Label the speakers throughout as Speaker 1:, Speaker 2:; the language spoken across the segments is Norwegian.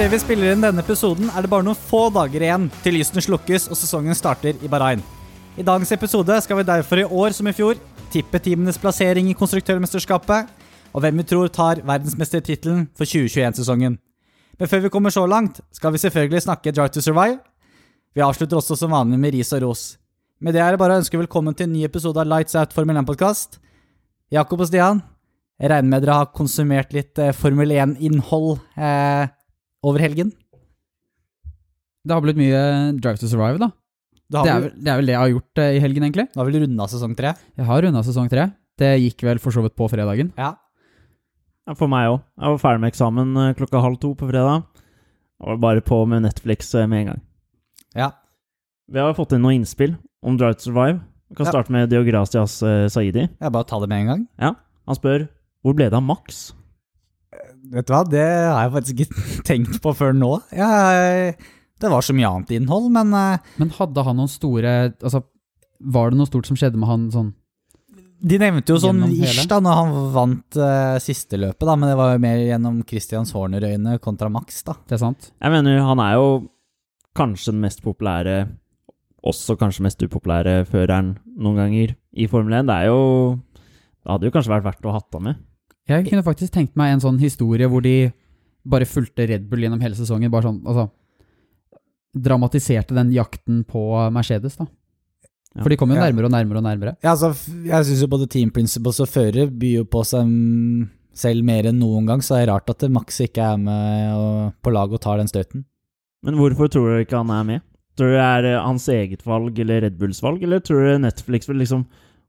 Speaker 1: det vi spiller inn denne episoden, er det bare noen få dager igjen til lysene slukkes og sesongen starter i Bahrain. I dagens episode skal vi derfor i år som i fjor tippe teamenes plassering i konstruktørmesterskapet, og hvem vi tror tar verdensmestertittelen for 2021-sesongen. Men før vi kommer så langt, skal vi selvfølgelig snakke Drive to Survive. Vi avslutter også som vanlig med ris og ros. Med det er det bare å ønske velkommen til en ny episode av Lights Out Formel 1-podkast. Jakob og Stian, jeg regner med dere har konsumert litt eh, Formel 1-innhold eh, over helgen?
Speaker 2: Det har blitt mye Drive to Survive, da.
Speaker 1: Da
Speaker 2: Det er,
Speaker 1: har,
Speaker 2: vel, det er vel det jeg har gjort eh, i helgen, egentlig.
Speaker 1: vi- da har vi runda sesong tre?
Speaker 2: Jeg har runda sesong tre. Det gikk vel for så vidt på fredagen.
Speaker 1: Ja.
Speaker 3: Ja, For meg òg. Jeg var ferdig med eksamen eh, klokka halv to på fredag. Jeg var bare på med Netflix eh, med en gang.
Speaker 1: Ja.
Speaker 3: Vi har fått inn noen innspill om Drive to Survive. Vi kan
Speaker 1: Ja.
Speaker 3: starte med Deograstias eh, Saidi.
Speaker 1: Jeg bare tar det med en gang.
Speaker 3: Han spør hvor ble det av Max?
Speaker 1: Vet du hva, det har jeg faktisk ikke tenkt på før nå. Jeg, det var så mye annet innhold, men eh,
Speaker 2: Men hadde han noen store Altså, var det noe stort som skjedde med han sånn
Speaker 1: de nevnte jo sånn
Speaker 2: Gjennom hele?
Speaker 1: ish da når han vant eh, siste løpet, da, men det var jo mer gjennom Christians Horner-øyne kontra Max, da.
Speaker 2: Det er sant?
Speaker 3: Jeg mener, han er jo kanskje den mest populære, også kanskje mest upopulære føreren noen ganger i Formel 1. Det er jo Det hadde jo kanskje vært verdt å hatt ham med.
Speaker 2: Jeg kunne faktisk tenkt meg en sånn historie hvor de bare fulgte Red Bull gjennom hele sesongen. Bare sånn, altså Dramatiserte den jakten på Mercedes, da.
Speaker 3: Ja.
Speaker 2: For de kom jo
Speaker 1: Ja.
Speaker 2: nærmere og nærmere og nærmere.
Speaker 1: Ja, altså, f- jeg syns jo både team principles og fører byr jo på seg mm, selv mer enn noen gang, så det er rart at Max ikke er med og, på laget og tar den støyten.
Speaker 3: Men hvorfor tror du ikke han er med? Tror du det er eh, hans eget valg eller Red Bulls valg, eller tror du Netflix vil liksom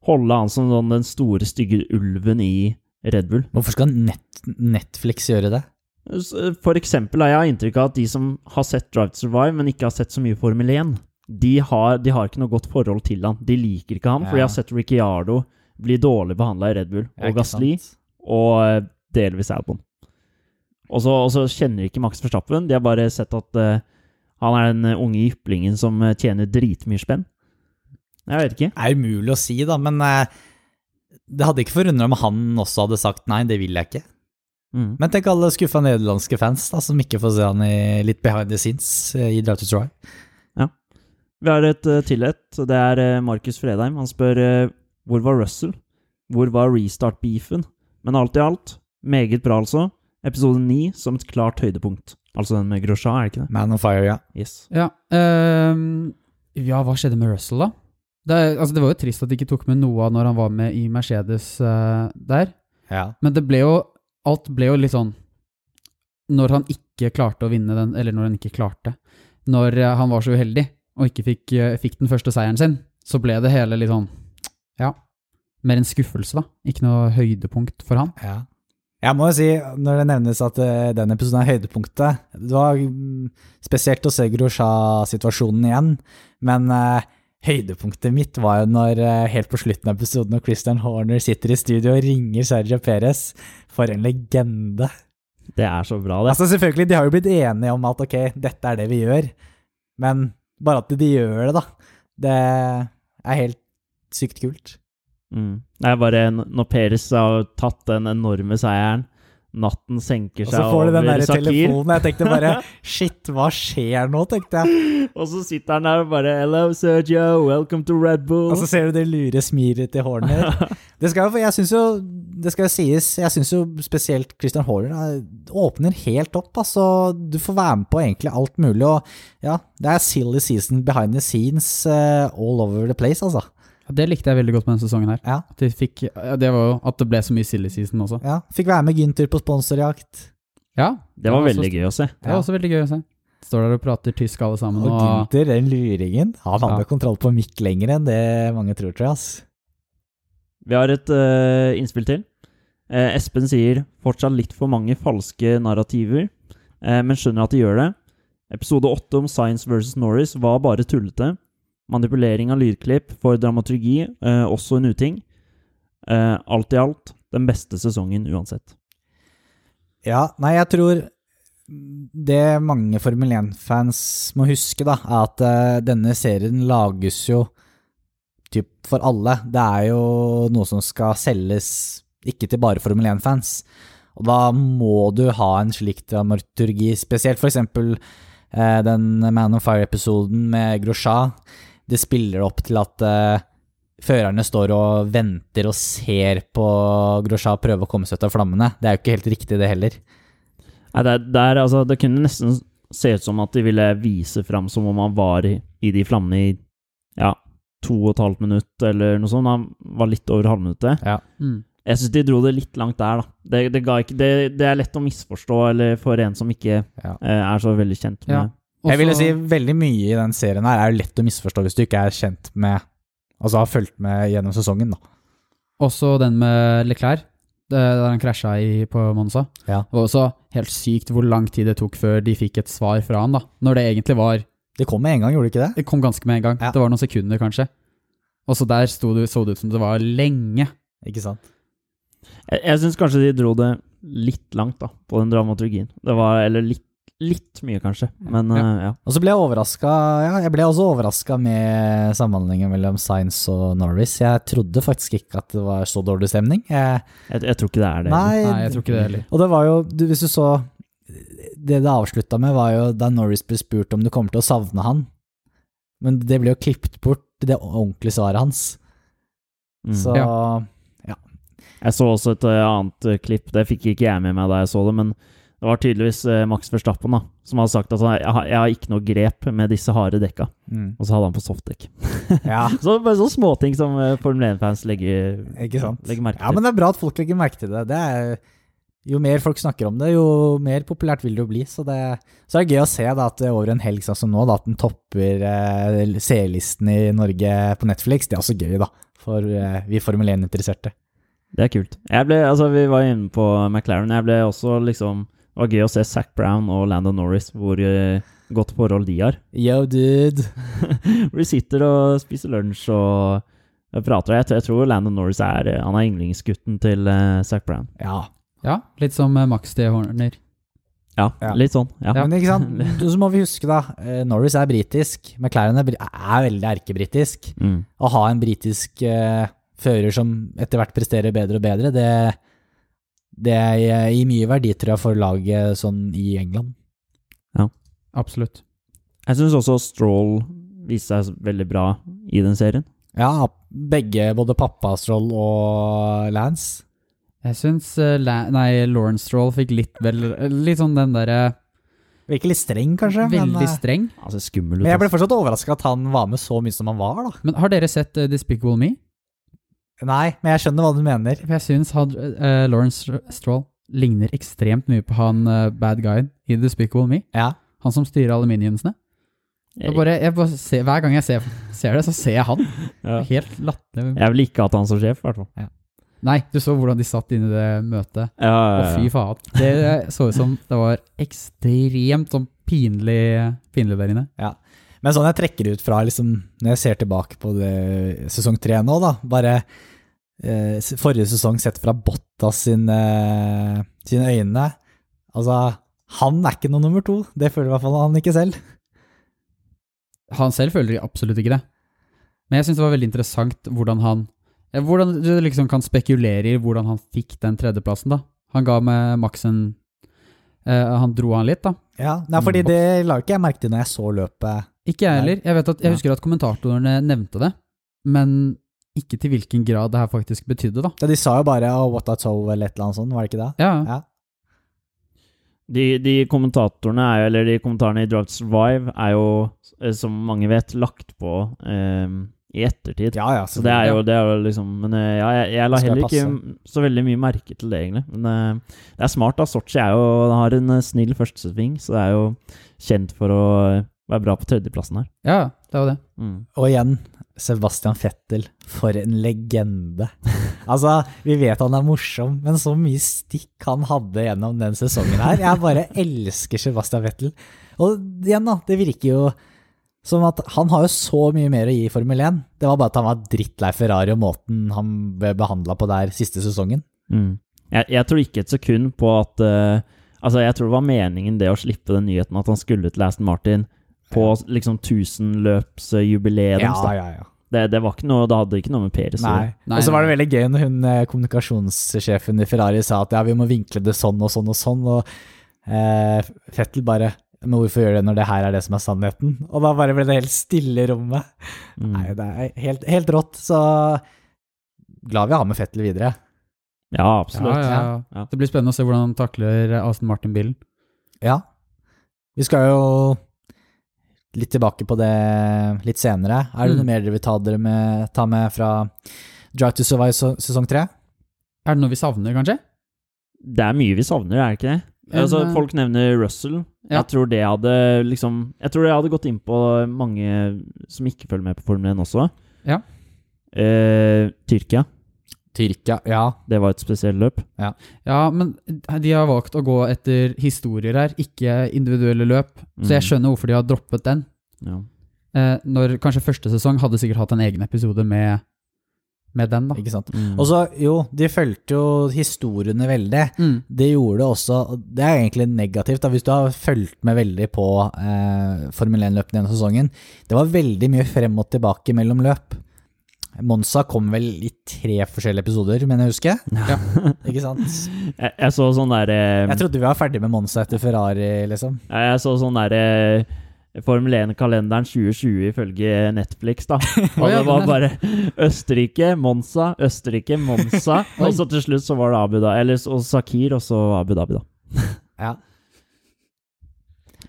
Speaker 3: holde han som sånn den store, stygge ulven i Red Bull?
Speaker 1: Hvorfor skal net Netflix gjøre det?
Speaker 3: S- eh, For eksempel har jeg inntrykk av at de som har sett Drive to Survive, men ikke har sett så mye Formel 1, de har, de har ikke noe godt forhold til han. De liker ikke ham, for de
Speaker 1: Ja.
Speaker 3: har sett Ricciardo bli dårlig behandla i Red Bull,
Speaker 1: Ja,
Speaker 3: og
Speaker 1: ikke
Speaker 3: Gasli,
Speaker 1: sant?
Speaker 3: og eh, delvis Albon. Og så, og så kjenner de ikke Max Verstappen, de har bare sett at eh, han er den eh, unge jyplingen som eh, tjener dritmye spenn. Jeg vet ikke.
Speaker 1: Det er umulig å si, da, men eh, det hadde ikke forundra om han også hadde sagt nei, det vil jeg ikke.
Speaker 3: Mm.
Speaker 1: Men tenk alle skuffa nederlandske fans da, som ikke får se han i litt behind the scenes eh, i Drive to Try.
Speaker 3: Vi har et uh, til et. så Det er eh, Markus Fredheim. Han spør eh, hvor var Russell? Hvor var restart-beefen? Men alt i alt, meget bra, altså. Episode 9 som et klart høydepunkt. Altså den med Grosja, er det ikke det?
Speaker 1: Man on fire, ja.
Speaker 3: Yes.
Speaker 2: Ja, ehm, ja hva skjedde med Russell, da? Det, er- altså, det var jo trist at de ikke tok med noe av når han var med i Mercedes eh, der.
Speaker 1: ja.
Speaker 2: Men det ble jo Alt ble jo litt sånn Når han ikke klarte å vinne den, eller når han ikke klarte Når eh, han var så uheldig og ikke fikk, eh, fikk den første seieren sin, så ble det hele litt sånn Ja. Mer en skuffelse, da. Ikke noe høydepunkt for han.
Speaker 1: ja. Jeg må jo si, når det nevnes at eh, den episoden er høydepunktet Det var mm, spesielt å se Grosja-situasjonen igjen, men eh, høydepunktet mitt var jo når, eh, helt på slutten av episoden når Christian Horner sitter i studio og ringer Sergio Perez. For en legende.
Speaker 3: Det er så bra, det.
Speaker 1: Altså selvfølgelig, De har jo blitt enige om at ok, dette er det vi gjør, men bare at de gjør det, da. Det er helt sykt kult.
Speaker 3: Mm. Det er bare n- når Peres har tatt den enorme seieren, natten senker
Speaker 1: Og
Speaker 3: seg
Speaker 1: så får du den
Speaker 3: over
Speaker 1: der
Speaker 3: Sakir,
Speaker 1: telefonen, jeg tenkte bare shit, hva skjer nå, tenkte jeg.
Speaker 3: og så sitter han der og bare Hello, Sergio, welcome to Red Bull.
Speaker 1: Og så ser du det lure smilet til Horner. Det skal jo, for jeg synes jo, det skal jo sies, jeg syns jo spesielt Christian Horner eh, åpner helt opp, altså. Du får være med på egentlig alt mulig, og ja, det er silly season behind the scenes eh, all over the place, altså.
Speaker 2: Det likte jeg veldig godt med denne sesongen her.
Speaker 1: Ja.
Speaker 2: At de fikk, ja, det var jo at det ble så mye silly season også.
Speaker 1: Ja, fikk være med Gynter på sponsorjakt.
Speaker 2: Ja,
Speaker 3: det
Speaker 2: Ja,
Speaker 3: var
Speaker 2: så-
Speaker 3: veldig gøy å se.
Speaker 2: Det er også veldig gøy å se. Står der og prater tysk alle sammen.
Speaker 1: Og
Speaker 2: Og,
Speaker 1: Gunther, den luringen, han hadde
Speaker 2: Ja.
Speaker 1: kontroll på mikk lenger enn det mange tror, tror jeg. ass.
Speaker 3: Vi har et eh, innspill til. Eh, Espen sier fortsatt litt for mange falske narrativer, eh, men skjønner at de gjør det. Episode 8 om Science versus Norris var bare tullete. Manipulering av lydklipp for dramaturgi, eh, også en uting. Eh, alt i alt den beste sesongen uansett.
Speaker 1: Ja, nei, jeg tror det mange Formel 1-fans må huske, da, er at eh, denne serien lages jo typ for alle. Det er jo noe som skal selges ikke til bare Formel 1-fans. Og da må du ha en slik dramaturgi, spesielt for eksempel eh, den Man on Fire-episoden med Grosja. Det spiller opp til at eh, førerne står og venter og ser på Grosja prøve å komme seg ut av flammene. Det er jo ikke helt riktig, det heller.
Speaker 3: Nei, det, er- det, er, altså, det kunne nesten se ut som at de ville vise fram som om han var i, i de flammene i ja, to og et halvt minutt, eller noe sånt. Han var litt over halvminuttet.
Speaker 2: Mm.
Speaker 3: Jeg syns de dro det litt langt der, da. Det, det, ga ikke, det, det er lett å misforstå eller for en som ikke
Speaker 1: Ja.
Speaker 3: eh, er så veldig kjent med
Speaker 2: Ja.
Speaker 1: Jeg ville
Speaker 2: Også-
Speaker 1: si veldig mye i den serien her er jo lett å misforstå hvis du ikke er kjent med Altså har fulgt med gjennom sesongen, da.
Speaker 2: Også den med Leclerc, det- der han krasja i, på Monza.
Speaker 1: Ja.
Speaker 2: Det var også helt sykt hvor lang tid det tok før de fikk et svar fra han, da. Når det egentlig var
Speaker 1: Det kom med en gang, gjorde det ikke det?
Speaker 2: Det kom ganske med en gang.
Speaker 1: Ja.
Speaker 2: Det var noen sekunder, kanskje. Også der sto det, så det ut som det var lenge.
Speaker 1: Ikke sant?
Speaker 3: Jeg, jeg syns kanskje de dro det litt langt, da, på den dramaturgien. Det var Eller litt, litt mye, kanskje. Men
Speaker 2: Ja.
Speaker 3: eh, ja.
Speaker 1: Og så ble jeg overraska Ja, jeg ble også overraska med samhandlingen mellom Science og Norris. Jeg trodde faktisk ikke at det var så dårlig stemning. Jeg,
Speaker 3: Jeg, jeg tror ikke det er det.
Speaker 1: nei,
Speaker 2: Nei, jeg tror ikke det heller.
Speaker 1: Og det var jo du, Hvis du så Det det avslutta med, var jo da Norris ble spurt om du kommer til å savne han. Men det ble jo klippet bort, det ordentlige svaret hans.
Speaker 3: Mm.
Speaker 1: Så
Speaker 3: Jeg så også et eh, annet eh, klipp, det fikk ikke jeg med meg da jeg så det, men det var tydeligvis eh, Max Verstappen da, som hadde sagt at han, jeg, har- jeg har ikke noe grep med disse harde dekka,
Speaker 1: mm,
Speaker 3: og så hadde han på softdekk.
Speaker 1: Ja,
Speaker 3: Så bare sånne småting som eh, Formel 1-fans legger,
Speaker 1: ikke sant.
Speaker 3: legger merke til.
Speaker 1: Ja, men det er bra at folk legger merke til det. det er, jo mer folk snakker om det, jo mer populært vil det jo bli. Så det, så er det gøy å se da, at det over en helg sånn som nå, da, at den topper eh, seerlisten i Norge på Netflix. Det er også gøy, da, for eh, vi Formel 1-interesserte.
Speaker 3: Det er kult. Jeg ble, altså, vi var inne på McLaren. Jeg ble også liksom Det var gøy å se Zac Brown og Lando Norris, hvor eh, godt forhold de har.
Speaker 1: Yo, dude!
Speaker 3: Hvor de sitter og spiser lunsj og eh, prater. Jeg, jeg tror Lando Norris er eh, Han er yndlingsgutten til eh, Zac Brown.
Speaker 1: Ja.
Speaker 2: Ja, litt som eh, Max D. Horner.
Speaker 3: Ja,
Speaker 1: Ja.
Speaker 3: litt sånn. Ja.
Speaker 1: Men ikke sant, så må vi huske, da. eh, Norris er britisk. McLaren er, bri- er veldig erkebritisk.
Speaker 3: Mm.
Speaker 1: Å ha en britisk eh, fører som etter hvert presterer bedre og bedre, det, det eh, gir mye verdi, tror jeg, for laget sånn i England.
Speaker 2: Absolutt.
Speaker 3: Jeg syns også Stroll viste seg veldig bra i den serien.
Speaker 1: Ja, begge, både pappa Stroll og Lance.
Speaker 2: Jeg syns eh, La nei, Lawrence Stroll fikk litt vel Litt sånn den derre
Speaker 1: Virker litt streng, kanskje, men,
Speaker 2: Veldig
Speaker 1: eh,
Speaker 2: streng.
Speaker 3: Han ser skummel ut.
Speaker 1: men jeg ble
Speaker 3: altså.
Speaker 1: fortsatt overraska at han var med så mye som han var, da.
Speaker 2: Men har dere sett eh, Despicable Me?
Speaker 1: Nei, men jeg skjønner hva du mener.
Speaker 2: For jeg syns han, eh, Lawrence Str- Stroll ligner ekstremt mye på han eh, bad guyen i Despicable Me.
Speaker 1: Ja.
Speaker 2: Han som styrer alle minionsene. Jeg bare, jeg bare ser, hver gang jeg ser, ser det, så ser jeg han.
Speaker 3: Ja.
Speaker 2: Helt latterlig.
Speaker 3: Jeg ville ikke hatt han som sjef, i hvert fall.
Speaker 2: Nei, du så hvordan de satt inne i det møtet.
Speaker 3: Ja,
Speaker 2: Å, fy faen. Det eh, så ut som det var ekstremt sånn pinlig, pinlig der inne.
Speaker 1: Men sånn jeg trekker ut fra, liksom, når jeg ser tilbake på det, sesong tre nå, da, bare eh, s- forrige sesong sett fra Bottas sine, sine øyne Altså, han er ikke noe nummer to. Det føler i hvert fall han ikke selv.
Speaker 2: Han selv føler absolutt ikke det. Men jeg syns det var veldig interessant hvordan han eh, Hvordan du liksom kan spekulere i hvordan han fikk den tredjeplassen, da. Han ga med Max en eh, Han dro han litt, da.
Speaker 1: Ja, nei, fordi det la jo ikke jeg merke til når jeg så løpet.
Speaker 2: Ikke jeg heller. Jeg, vet at, jeg
Speaker 1: Nei.
Speaker 2: husker at kommentatorene nevnte det, men ikke til hvilken grad det her faktisk betydde, da.
Speaker 1: Ja, de sa jo bare oh, 'what a toe' eller et eller annet sånt, var det ikke det?
Speaker 2: Ja,
Speaker 1: Ja.
Speaker 3: De, de kommentatorene, er, jo- eller de kommentarene i Drive to Survive, er jo, eh, som mange vet, lagt på eh, i ettertid.
Speaker 1: Ja, ja,
Speaker 3: Så det er jo, det er jo liksom Men eh, ja, jeg, jeg la
Speaker 1: Skal
Speaker 3: heller
Speaker 1: passe.
Speaker 3: ikke så veldig mye merke til det, egentlig. Men eh, det er smart, da. Sotsji er jo, han har en eh, snill førstesving, så det er jo kjent for å eh, være bra på tredjeplassen her.
Speaker 2: ja det var det.
Speaker 3: Mm.
Speaker 1: Og igjen, Sebastian Fettel, for en legende. Altså, vi vet han er morsom, men så mye stikk han hadde gjennom den sesongen her. Jeg bare elsker Sebastian Fettel. Og igjen, da, det virker jo som at han har jo så mye mer å gi i Formel 1. Det var bare at han var drittlei Ferrari og måten han ble behandla på der siste sesongen.
Speaker 3: Mm. Jeg, jeg tror ikke et sekund på at eh, Altså, jeg tror det var meningen det å slippe den nyheten at han skulle til Aston Martin på liksom tusenløpsjubileet deres. da.
Speaker 1: ja, ja.
Speaker 3: Det, det var ikke noe, det hadde ikke noe med Peres å
Speaker 1: Nei.
Speaker 3: gjøre.
Speaker 2: Nei,
Speaker 1: og så var det
Speaker 2: nei.
Speaker 1: veldig gøy når hun eh, kommunikasjonssjefen i Ferrari sa at ja, vi må vinkle det sånn og sånn og sånn, og eh, Fettel bare men hvorfor gjør det når det her er det som er sannheten? Og da bare ble det helt stille i rommet.
Speaker 3: Mm.
Speaker 1: Nei, det er helt, helt rått, så glad vi har med Fettel videre.
Speaker 3: Ja,
Speaker 2: Ja,
Speaker 3: absolutt.
Speaker 2: ja, ja.
Speaker 3: Ja.
Speaker 2: Det blir spennende å se hvordan han takler Aston Martin-bilen.
Speaker 1: Ja. Vi skal jo litt tilbake på det litt senere. Er det
Speaker 2: Mm.
Speaker 1: noe mer dere vil ta, dere med, ta med fra Drive to Survive se- sesong tre?
Speaker 2: Er det noe vi savner, kanskje?
Speaker 3: Det er mye vi savner, er det ikke det?
Speaker 2: Men,
Speaker 3: altså,
Speaker 2: eh,
Speaker 3: folk nevner Russell.
Speaker 2: Ja.
Speaker 3: Jeg tror det hadde liksom Jeg tror det hadde gått inn på mange som ikke følger med på Formel 1 også.
Speaker 2: Ja.
Speaker 3: Eh, Tyrkia.
Speaker 1: Tyrkia, ja.
Speaker 3: Det var et spesielt løp.
Speaker 2: Ja, men de har valgt å gå etter historier her, ikke individuelle løp. Så jeg
Speaker 3: Mm.
Speaker 2: skjønner hvorfor de har droppet den.
Speaker 3: Ja.
Speaker 2: Eh, når kanskje første sesong hadde sikkert hatt en egen episode med, med den, da.
Speaker 1: Ikke sant.
Speaker 3: Mm.
Speaker 1: Og så, jo, de fulgte jo historiene veldig.
Speaker 2: Mm.
Speaker 1: Det gjorde det også Det er egentlig negativt, da, hvis du har fulgt med veldig på eh, Formel 1-løpene gjennom sesongen. Det var veldig mye frem og tilbake mellom løp. Monza kom vel i tre forskjellige episoder, mener jeg å huske.
Speaker 2: Ja.
Speaker 1: Ikke sant?
Speaker 3: jeg, jeg så sånn derre
Speaker 1: Jeg trodde vi var ferdig med Monza etter Ferrari, liksom.
Speaker 3: Nei, Jeg så sånn der eh, Formel 1-kalenderen 2020 ifølge Netflix, da. Og
Speaker 2: ja,
Speaker 3: det var
Speaker 2: den
Speaker 3: bare Østerrike, Monza, Østerrike, Monza.
Speaker 2: Oi.
Speaker 3: Og så til slutt så var det Abu Dhabi, eller så- og Sakir, og så Abu Dhabi, da.
Speaker 1: Ja.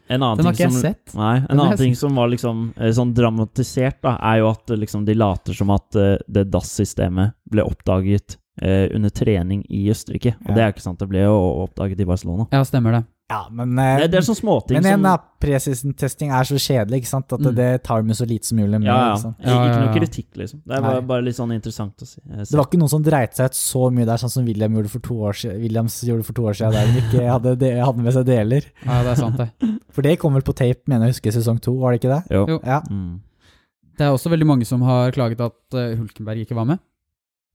Speaker 3: En annen
Speaker 2: Den har
Speaker 3: ting
Speaker 2: ikke jeg
Speaker 3: som,
Speaker 2: sett.
Speaker 3: Nei, en
Speaker 2: Den har
Speaker 3: annen
Speaker 2: jeg
Speaker 3: ting som var liksom eh, sånn dramatisert, da, er jo at eh, liksom de later som at eh, det DAS-systemet ble oppdaget eh, under trening i Østerrike. Og
Speaker 1: Ja.
Speaker 3: det er jo ikke sant, det ble jo oppdaget i Barcelona.
Speaker 2: Ja, stemmer det.
Speaker 1: Ja, men eh,
Speaker 3: Det, det er sånne småting
Speaker 1: men
Speaker 3: som
Speaker 1: igjen, da, presisen-testing er så kjedelig, ikke sant, at
Speaker 2: Mm.
Speaker 1: det tar med så lite som mulig. liksom. med,
Speaker 3: Ja,
Speaker 1: ikke
Speaker 3: ja.
Speaker 1: sant?
Speaker 2: Ja,
Speaker 3: Ikke
Speaker 2: ja,
Speaker 3: noe
Speaker 2: ja.
Speaker 3: kritikk, liksom. Det er bare,
Speaker 1: Nei.
Speaker 3: bare litt sånn interessant å si. eh,
Speaker 1: Det
Speaker 3: se.
Speaker 1: var ikke noen som dreit seg ut så mye der, sånn som William gjorde for to år siden, Williams gjorde for to år siden der hun ikke hadde, de, hadde med seg deler.
Speaker 2: Ja, det er sant, det.
Speaker 1: For det kom vel på tape, mener jeg å huske, i sesong to, var det ikke det?
Speaker 3: Jo.
Speaker 2: Jo.
Speaker 1: Ja.
Speaker 3: Mm.
Speaker 2: Det er også veldig mange som har klaget at eh, Hulkenberg ikke var med.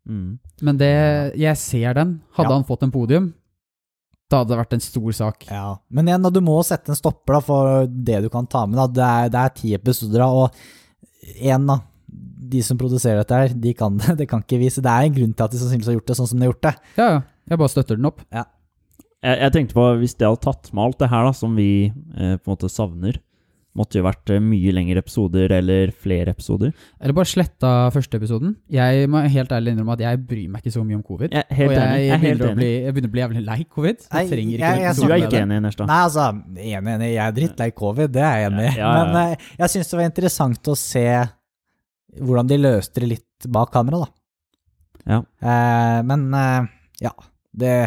Speaker 3: Mm.
Speaker 2: Men det, jeg ser den. Hadde
Speaker 1: Ja.
Speaker 2: han fått en podium, da hadde det vært en stor sak.
Speaker 1: ja. Men igjen, da, du må sette en stopper da, for det du kan ta med. Da. Det, er, det er ti episoder, da, og én, da. De som produserer dette her, de kan det, det kan ikke vi. Så det er en grunn til at de sannsynligvis har gjort det sånn som de har gjort det.
Speaker 2: Ja, ja. Jeg bare støtter den opp.
Speaker 3: Jeg, jeg tenkte på, hvis de hadde tatt med alt det her da, som vi eh, på en måte savner, måtte jo vært eh, mye lengre episoder, eller flere episoder.
Speaker 2: Eller bare sletta første episoden. Jeg må helt ærlig innrømme at jeg bryr meg ikke så mye om covid.
Speaker 3: Jeg er helt
Speaker 2: og jeg,
Speaker 3: enig. Jeg
Speaker 2: jeg,
Speaker 3: er helt
Speaker 2: begynner å
Speaker 3: enig.
Speaker 2: bli, jeg begynner å bli jævlig lei covid. så
Speaker 1: Nei,
Speaker 2: Jeg trenger ikke
Speaker 1: jeg-
Speaker 2: den
Speaker 1: jeg
Speaker 2: episoden
Speaker 3: Du er
Speaker 2: med
Speaker 3: ikke
Speaker 2: det.
Speaker 3: enig, Nerstad?
Speaker 1: Nei, altså, enig, enig. Jeg er drittlei covid, det er jeg enig i.
Speaker 3: Ja, ja, ja.
Speaker 1: Men eh, jeg syns det var interessant å se hvordan de løste det litt bak kamera, da.
Speaker 3: Ja.
Speaker 1: Eh, men eh, ja, det,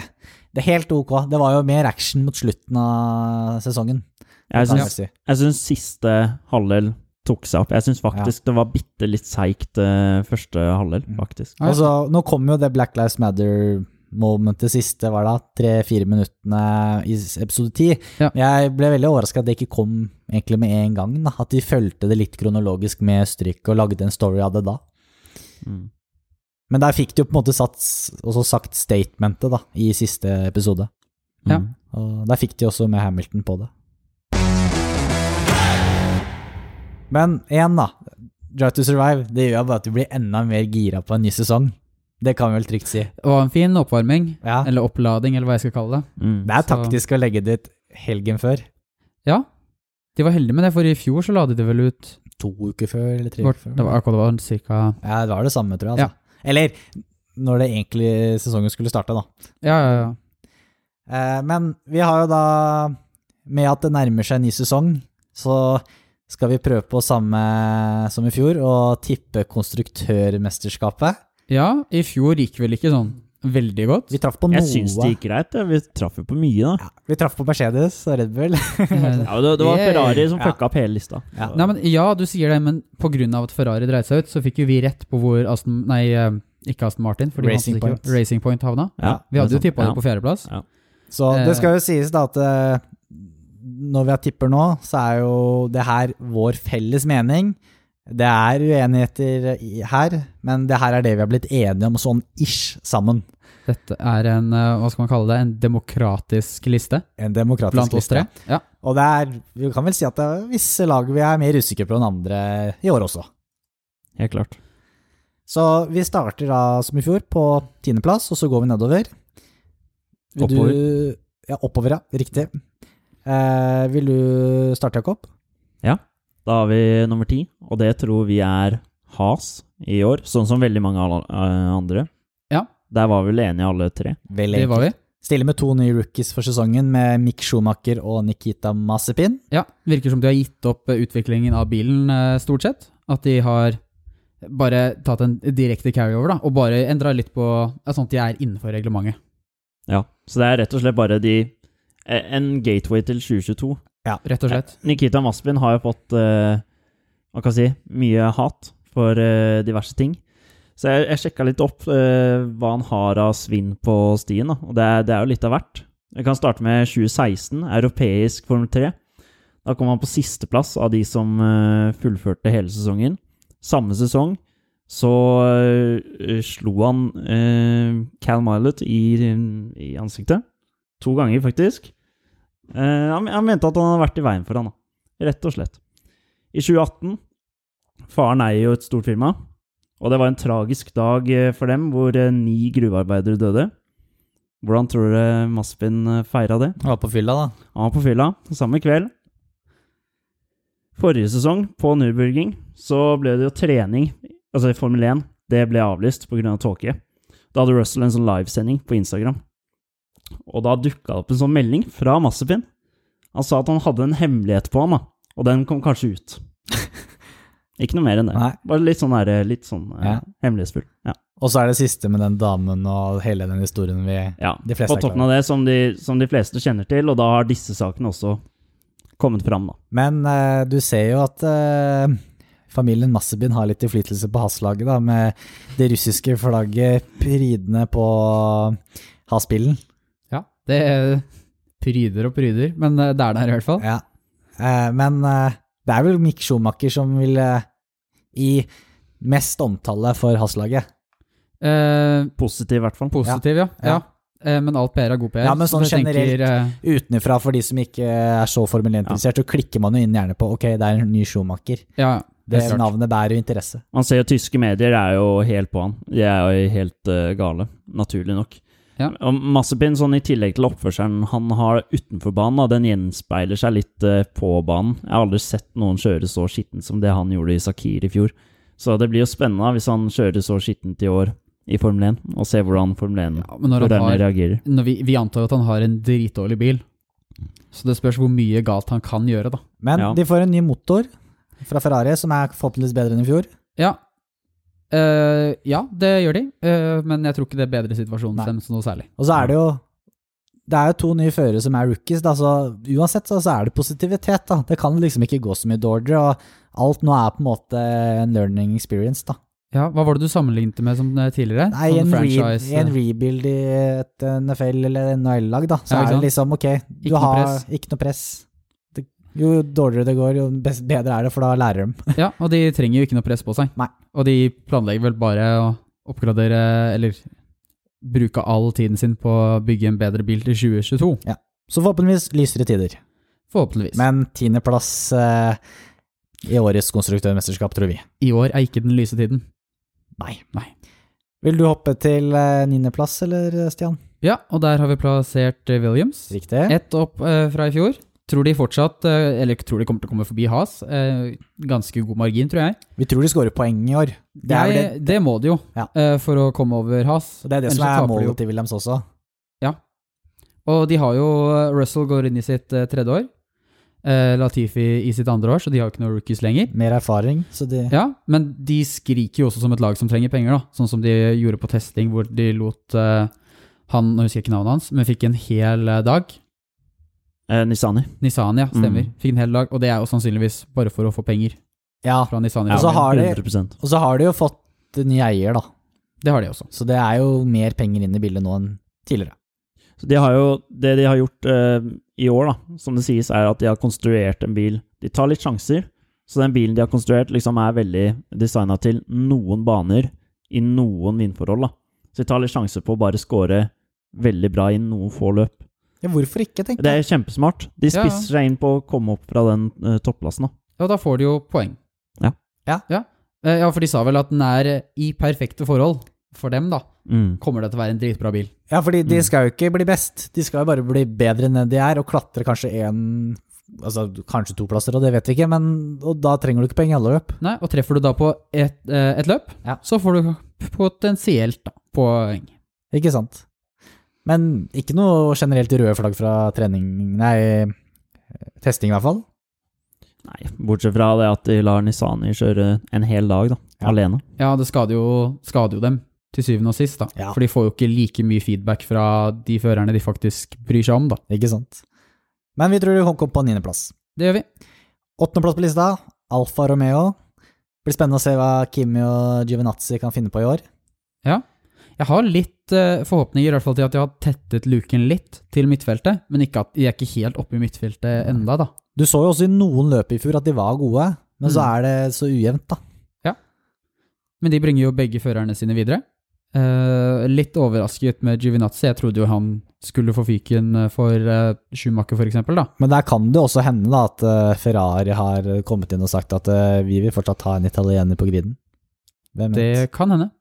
Speaker 1: det er helt ok. Det var jo mer action mot slutten av sesongen.
Speaker 3: Jeg
Speaker 1: kan
Speaker 3: syns,
Speaker 1: si.
Speaker 3: jeg syns siste halvdel tok seg opp. Jeg syns faktisk det var bitte litt seigt eh, første halvdel,
Speaker 1: Mm.
Speaker 3: faktisk.
Speaker 2: Ja, ja.
Speaker 1: Og så, nå kom jo det Black Lives Matter-momentet siste, var det da? Tre-fire minuttene i s- episode ti.
Speaker 2: Ja.
Speaker 1: Jeg ble veldig overraska at det ikke kom egentlig med en gang. Da. At de fulgte det litt kronologisk med Østerrike og lagde en story av det da.
Speaker 3: Mm.
Speaker 1: Men der fikk de jo på en måte satt, også sagt statementet da, i siste episode.
Speaker 2: Ja.
Speaker 3: Mm.
Speaker 1: Og der fikk de også med Hamilton på det. Men igjen, da. Drive to survive det gjør bare at du blir enda mer gira på en ny sesong. Det kan vi vel trygt si.
Speaker 2: Det var en fin oppvarming,
Speaker 1: Ja.
Speaker 2: eller opplading, eller hva jeg skal kalle det.
Speaker 3: Mm.
Speaker 1: Det er
Speaker 2: Så-
Speaker 1: taktisk å legge det ut helgen før.
Speaker 2: Ja, de var heldige med det, for i fjor så la de det vel ut
Speaker 1: To uker før, eller tre
Speaker 2: Vårt-
Speaker 1: uker før.
Speaker 2: Det var akkurat det var cirka
Speaker 1: Ja, det var det samme, tror jeg. Altså. Eller når det egentlig sesongen skulle starte, da.
Speaker 2: Ja, ja, ja.
Speaker 1: Eh, Men vi har jo da Med at det nærmer seg en ny sesong, så skal vi prøve på samme som i fjor, å tippe konstruktørmesterskapet.
Speaker 2: Ja, i fjor gikk vel ikke sånn veldig godt.
Speaker 1: Vi traff på noe.
Speaker 3: Jeg syns det gikk greit. ja. Vi traff jo på mye, da.
Speaker 1: ja, vi traff på Mercedes og Red Bull.
Speaker 2: Eh,
Speaker 3: Ja, det, det var
Speaker 2: Yeah.
Speaker 3: Ferrari som
Speaker 1: Ja.
Speaker 3: fucka opp hele lista.
Speaker 1: Ja.
Speaker 2: Nei, men ja, du sier det, men på grunn av at Ferrari dreide seg ut, så fikk jo vi rett på hvor Aston Nei, eh, ikke Aston Martin, fordi
Speaker 1: Racing
Speaker 2: han hadde ikke,
Speaker 1: Point.
Speaker 2: Racing Point havna.
Speaker 1: Ja,
Speaker 2: Vi hadde jo
Speaker 3: det er
Speaker 2: tippa
Speaker 3: sant.
Speaker 2: det på fjerdeplass.
Speaker 3: Ja.
Speaker 1: Så det skal jo sies da at eh, når vi har tipper nå, så er jo det her vår felles mening. Det er uenigheter i- her, men det her er det vi har blitt enige om sånn ish sammen.
Speaker 2: Dette er en, eh, hva skal man kalle det, en demokratisk liste
Speaker 1: En demokratisk
Speaker 2: blant
Speaker 1: liste.
Speaker 2: oss tre. Ja.
Speaker 1: Og det er, vi kan vel si at det er visse lag vi er mer usikre på enn andre i år også.
Speaker 3: Helt klart.
Speaker 1: Så vi starter da, som i fjor, på tiendeplass, og så går vi nedover. Vil
Speaker 3: Oppover.
Speaker 1: Du, ja, oppover, ja. Riktig. Eh, vil du starte, Jakob?
Speaker 3: Da har vi nummer ti, og det tror vi er Has i år, sånn som veldig mange alle- eh, andre.
Speaker 2: Ja.
Speaker 3: Der var vi vel enige alle tre.
Speaker 1: Vel,
Speaker 2: Det var vi.
Speaker 1: Stille med to nye rookies for sesongen, med Mick Schumacher og Nikita Masipin.
Speaker 2: Ja, virker som de har gitt opp eh, utviklingen av bilen eh, stort sett. At de har bare tatt en direkte carryover da, og bare endra litt på ja, sånn at de er innenfor reglementet.
Speaker 3: Ja, Så det er rett og slett bare de eh, En gateway til 2022.
Speaker 2: Rett og slett.
Speaker 3: Nikita Maspin har jo fått eh, hva kan jeg si, mye hat for eh, diverse ting. Så jeg, jeg sjekka litt opp eh, hva han har av svinn på stien, da. og det er, det er jo litt av hvert. Vi kan starte med 2016, europeisk Formel 3. Da kom han på sisteplass av de som eh, fullførte hele sesongen. Samme sesong så eh, slo han eh, Cal Milet i, i ansiktet. To ganger, faktisk. Eh, han, han mente at han hadde vært i veien for han, da. Rett og slett. I 2018 Faren eier jo et stort firma, og det var en tragisk dag eh, for dem, hvor eh, ni gruvearbeidere døde. Hvordan tror dere Maspin eh, feira det?
Speaker 1: Han var på fylla, da.
Speaker 3: Han var på fylla samme kveld. Forrige sesong, på Nürburgring, så ble det jo trening, altså i Formel 1, det ble avlyst pga. Av tåke. Da hadde Russell en sånn livesending på Instagram. Og da dukka det opp en sånn melding fra Massepin. Han sa at han hadde en hemmelighet på han, da. Og den kom kanskje ut. Ikke noe mer enn det.
Speaker 1: Nei.
Speaker 3: Bare litt sånn, der, litt sånn eh,
Speaker 1: Ja.
Speaker 3: hemmelighetsfull. Ja.
Speaker 1: Og så er det siste med den damen og hele den historien vi
Speaker 3: Ja,
Speaker 1: De fleste
Speaker 3: på
Speaker 1: er
Speaker 3: toppen av det, som de, som de fleste kjenner til, og da har disse sakene også kommet fram, da.
Speaker 1: Men eh, du ser jo at eh, familien Massebin har litt innflytelse på Hass-laget, da, med det russiske flagget pridende på Hass-bilen.
Speaker 2: Ja, det eh, pryder og pryder, men eh, det er der i hvert fall.
Speaker 1: Ja. Eh, men eh, det er vel Mick Schumacher som vil eh, i mest omtale for Hass-laget.
Speaker 2: Eh,
Speaker 3: Positiv, i hvert fall.
Speaker 2: positiv, ja. ja. Eh, men alt PR er god PR.
Speaker 1: Ja, men sånn
Speaker 2: så jeg tenker, eh,
Speaker 1: Utenfra, for de som ikke er så Formel 1-interessert, så klikker man jo inn gjerne på ok, det er en ny Schumacher.
Speaker 2: ja,
Speaker 1: Det
Speaker 2: det er klart.
Speaker 1: navnet bærer jo interesse.
Speaker 3: Man ser jo tyske medier er jo helt på han. De er jo helt eh, gale, naturlig nok.
Speaker 2: Ja.
Speaker 3: Og Massepin, sånn i tillegg til oppførselen han har utenfor banen, da, den gjenspeiler seg litt eh, på banen. Jeg har aldri sett noen kjøre så skitten som det han gjorde i Sakir i fjor. Så det blir jo spennende da, hvis han kjører så skittent i år i Formel 1, og ser hvordan Formel 1
Speaker 2: Ja, men når han
Speaker 3: hvordan de
Speaker 2: har,
Speaker 3: reagerer.
Speaker 2: når vi, vi antar jo at han har en dritdårlig bil, så det spørs hvor mye galt han kan gjøre, da.
Speaker 1: Men
Speaker 3: Ja.
Speaker 1: de får en ny motor fra Ferrari, som er forhåpentligvis bedre enn i fjor.
Speaker 2: Ja. Eh, ja, det gjør de, eh, men jeg tror ikke det bedrer situasjonen
Speaker 1: Nei.
Speaker 2: deres noe særlig.
Speaker 1: Og så er det jo det er jo to nye førere som er rookies, da, så uansett så, så er det positivitet. da. Det kan liksom ikke gå så mye dårligere, og alt nå er på en måte en learning experience. da.
Speaker 2: Ja, Hva var det du sammenlignet det med som eh, tidligere?
Speaker 1: Nei,
Speaker 2: Sånn
Speaker 1: en, re
Speaker 2: franchise,
Speaker 1: i en rebuild i et eh, NFL eller NHL-lag, da, så
Speaker 2: Ja, ikke
Speaker 1: er det
Speaker 2: sant?
Speaker 1: liksom ok, du
Speaker 2: Ikke noe
Speaker 1: har
Speaker 2: press.
Speaker 1: ikke noe press. Det, jo dårligere det går, jo best, bedre er det, for da lærer de.
Speaker 2: Ja, og de trenger jo ikke noe press på seg.
Speaker 1: Nei.
Speaker 2: Og de planlegger vel bare å oppgradere, eller bruke all tiden sin på å bygge en bedre bil til 2022.
Speaker 1: Så forhåpentligvis lysere tider.
Speaker 2: Forhåpentligvis.
Speaker 1: Men tiendeplass eh, i årets konstruktørmesterskap, tror vi.
Speaker 2: I år er ikke den lyse tiden.
Speaker 1: Nei.
Speaker 2: Nei.
Speaker 1: Vil du hoppe til eh, niendeplass, eller, Stian?
Speaker 2: Ja, og der har vi plassert eh, Williams.
Speaker 1: Riktig.
Speaker 2: Ett opp eh, fra i fjor. Tror de fortsatt, eh, eller tror de kommer til å komme forbi Has. Eh, ganske god margin, tror jeg.
Speaker 1: Vi tror de skårer poeng i år. Det er, vel
Speaker 2: Jeg-
Speaker 1: det,
Speaker 2: det må de jo,
Speaker 1: Ja.
Speaker 2: eh, for å komme over Has.
Speaker 1: og det, er det
Speaker 2: Ellers
Speaker 1: som
Speaker 2: så
Speaker 1: er
Speaker 2: taper de jo.
Speaker 1: målet til Williams også.
Speaker 2: Og de har jo eh, Russell går inn i sitt eh, tredje år. Eh, Latifi i sitt andre år, så de har jo ikke noen rookies lenger.
Speaker 1: Mer erfaring, så de
Speaker 2: Ja, men de skriker jo også som et lag som trenger penger, da. Sånn som de gjorde på testing, hvor de lot eh, han, nå husker jeg ikke navnet hans, men fikk en hel eh, dag.
Speaker 3: Eh, Nissani.
Speaker 2: Nissan, ja, stemmer.
Speaker 3: Mm.
Speaker 2: Fikk en hel dag, og det er jo sannsynligvis bare for å få penger
Speaker 1: Ja.
Speaker 2: fra Nissan.
Speaker 1: Og så har de-
Speaker 3: 100
Speaker 1: Og så har de jo fått ny eier, da.
Speaker 2: Det har de også.
Speaker 1: Så det er jo mer penger inn i bildet nå enn tidligere.
Speaker 3: Så de har jo, det de har gjort eh, i år, da, som det sies, er at de har konstruert en bil. De tar litt sjanser, så den bilen de har konstruert, liksom er veldig designa til noen baner i noen vindforhold. da. Så de tar litt sjanser på å bare score veldig bra i noen få løp.
Speaker 1: Ja, hvorfor ikke, tenker
Speaker 3: Det er kjempesmart. De
Speaker 2: Ja, ja.
Speaker 3: spisser seg inn på å komme opp fra den eh, topplassen. da.
Speaker 2: Ja, da får de jo poeng.
Speaker 3: Ja.
Speaker 1: Ja.
Speaker 2: Eh, Ja, for de sa vel at den er eh, i perfekte forhold for dem, da.
Speaker 3: Mm.
Speaker 2: Kommer det til å være en dritbra bil.
Speaker 1: Ja, fordi de
Speaker 3: Mm.
Speaker 1: skal jo ikke bli best. De skal jo bare bli bedre enn det de er, og klatre kanskje én Altså kanskje to plasser, og det vet vi ikke, men og da trenger du ikke poeng i alle løp.
Speaker 2: Nei, og treffer du da på et, eh, et løp,
Speaker 1: Ja.
Speaker 2: så får du potensielt da, poeng.
Speaker 1: Ikke sant? Men ikke noe generelt røde flagg fra trening Nei, testing i hvert fall.
Speaker 3: Nei, bortsett fra det at de lar Nisani kjøre en hel dag, da.
Speaker 1: Ja.
Speaker 3: Alene.
Speaker 2: Ja, det skader jo, skader jo dem til syvende og sist, da.
Speaker 1: Ja.
Speaker 2: For de får jo ikke like mye feedback fra de førerne de faktisk bryr seg om, da.
Speaker 1: Ikke sant? Men vi tror de kom på niendeplass.
Speaker 2: Det gjør vi.
Speaker 1: Åttendeplass på lista, Alfa Romeo. Blir spennende å se hva Kimi og Giovinazzi kan finne på i år.
Speaker 2: Jeg har litt eh, forhåpninger i hvert fall til at jeg har tettet luken litt til midtfeltet, men ikke at de er ikke helt oppe i midtfeltet enda, da.
Speaker 1: Du så jo også i noen løp i fjor at de var gode, men så
Speaker 2: Mm.
Speaker 1: er det så ujevnt, da.
Speaker 2: Men de bringer jo begge førerne sine videre. Eh, litt overrasket med Giovinazzi. Jeg trodde jo han skulle få fyken eh, for eh, Schumacher, for eksempel, da.
Speaker 1: Men der kan det også hende da, at eh, Ferrari har kommet inn og sagt at eh, vi vil fortsatt ha en italiener på griden. Hvem vet?
Speaker 2: Det kan hende.
Speaker 3: Jeg, sy-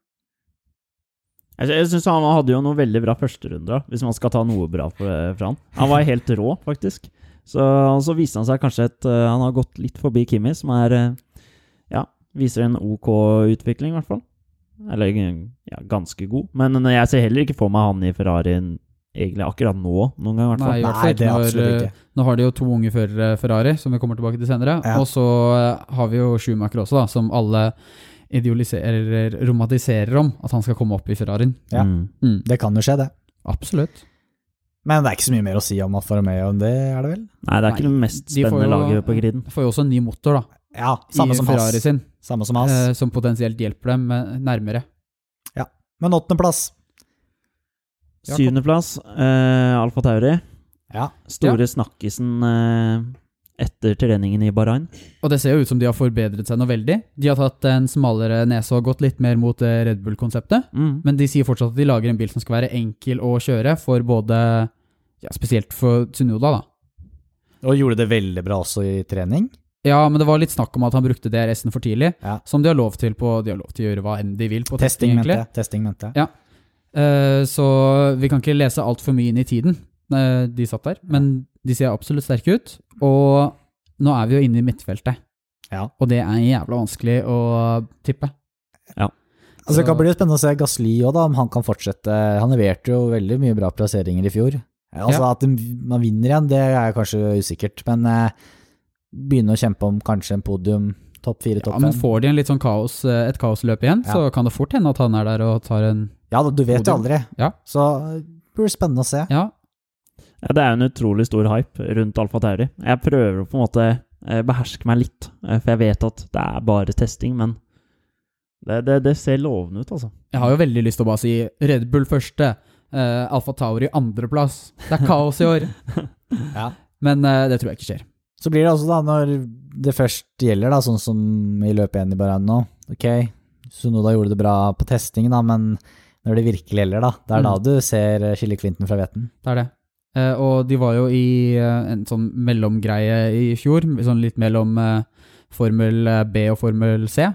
Speaker 3: Altså, jeg syns han hadde jo noen veldig bra førsterunder, da, hvis man skal ta noe bra fra fra han. Han var helt rå, faktisk. Så, og så viste han seg kanskje at eh, han har gått litt forbi Kimi, som er eh, Ja, viser en OK utvikling, i hvert fall. Eller ja, ganske god. Men eh, jeg ser heller ikke for meg han i Ferrarien egentlig akkurat nå, noen gang, i hvert fall.
Speaker 2: Nei, i hvert fall
Speaker 1: Nei, det er
Speaker 2: når,
Speaker 1: absolutt
Speaker 2: eh,
Speaker 1: ikke.
Speaker 2: Nå har de jo to unge førere, Ferrari, som vi kommer tilbake til senere.
Speaker 1: Ja.
Speaker 2: Og så eh, har vi jo Schumacher også, da, som alle idealiserer, romantiserer om at han skal komme opp i Ferrarien.
Speaker 1: Ja.
Speaker 3: Mm.
Speaker 2: Mm,
Speaker 1: Det kan jo skje, det.
Speaker 2: absolutt.
Speaker 1: Men det er ikke så mye mer å si om Alfa Romeo enn det, er det vel?
Speaker 3: Nei, det er ikke
Speaker 2: Nei,
Speaker 3: det mest
Speaker 2: de får
Speaker 3: spennende
Speaker 2: jo- eh,
Speaker 3: laget på griden.
Speaker 2: Får jo også en ny motor, da,
Speaker 1: Ja, samme
Speaker 2: i
Speaker 1: som
Speaker 2: Ferrari
Speaker 1: Haas.
Speaker 2: sin,
Speaker 1: Samme som Haas.
Speaker 2: eh, som potensielt hjelper dem eh, nærmere.
Speaker 1: Men åttendeplass.
Speaker 2: Jakob.
Speaker 3: Syvendeplass, eh, Alfa Tauri.
Speaker 1: Ja.
Speaker 3: Store snakkisen eh, etter treningen i Bahrain.
Speaker 2: Og det ser jo ut som de har forbedret seg noe veldig. De har tatt en smalere nese og gått litt mer mot eh, Red Bull-konseptet.
Speaker 3: Mm.
Speaker 2: Men de sier fortsatt at de lager en bil som skal være enkel å kjøre for både ja, Spesielt for Tsunoda, da.
Speaker 1: Og gjorde det veldig bra også i trening.
Speaker 2: Ja, men det var litt snakk om at han brukte DRS-en for tidlig,
Speaker 1: Ja.
Speaker 2: som de har lov til på De har lov til å gjøre hva enn de vil på testing,
Speaker 1: Testing, mente
Speaker 2: egentlig.
Speaker 1: jeg. Testing, mente jeg.
Speaker 2: Eh, så vi kan ikke lese altfor mye inn i tiden eh, de satt der, men de ser absolutt sterke ut. Og nå er vi jo inne i midtfeltet,
Speaker 1: Ja.
Speaker 2: og det er jævla vanskelig å tippe.
Speaker 1: Altså, det
Speaker 2: Så-
Speaker 1: kan bli spennende å se Gasli òg, om han kan fortsette. Han leverte jo veldig mye bra plasseringer i fjor. Altså At man vinner igjen, det er kanskje usikkert, men eh, begynne å kjempe om kanskje en podium, topp fire,
Speaker 2: Ja,
Speaker 1: topp
Speaker 2: men
Speaker 1: fem.
Speaker 2: får de en litt sånn kaos, eh, et kaosløp igjen,
Speaker 1: Ja.
Speaker 2: så kan det fort hende at han er der og tar en
Speaker 1: Ja, da, du vet jo
Speaker 2: Podium.
Speaker 1: aldri.
Speaker 2: Ja.
Speaker 1: Så eh, det blir spennende å se.
Speaker 2: Ja,
Speaker 3: Ja, det er jo en utrolig stor hype rundt Alfa Tauri. Jeg prøver å på en måte eh, beherske meg litt, eh, for jeg vet at det er bare testing, men det, det, det ser lovende ut, altså.
Speaker 2: jeg har jo veldig lyst til å bare si Red Bull første, eh, Alfa Tauri andreplass. Det er kaos i år,
Speaker 1: Ja.
Speaker 2: men eh, det tror jeg ikke skjer.
Speaker 1: Så blir det altså, da, når det først gjelder, da, sånn som i løpet igjen i Bahrain nå Ok, Sunoda gjorde det bra på testing, da, men når det virkelig gjelder, da, det er da
Speaker 2: Mm.
Speaker 1: du ser eh, skille klinten fra hveten.
Speaker 2: Det er det. Eh, og de var jo i eh, en sånn mellomgreie i fjor, sånn litt mellom eh, Formel eh, B og Formel C.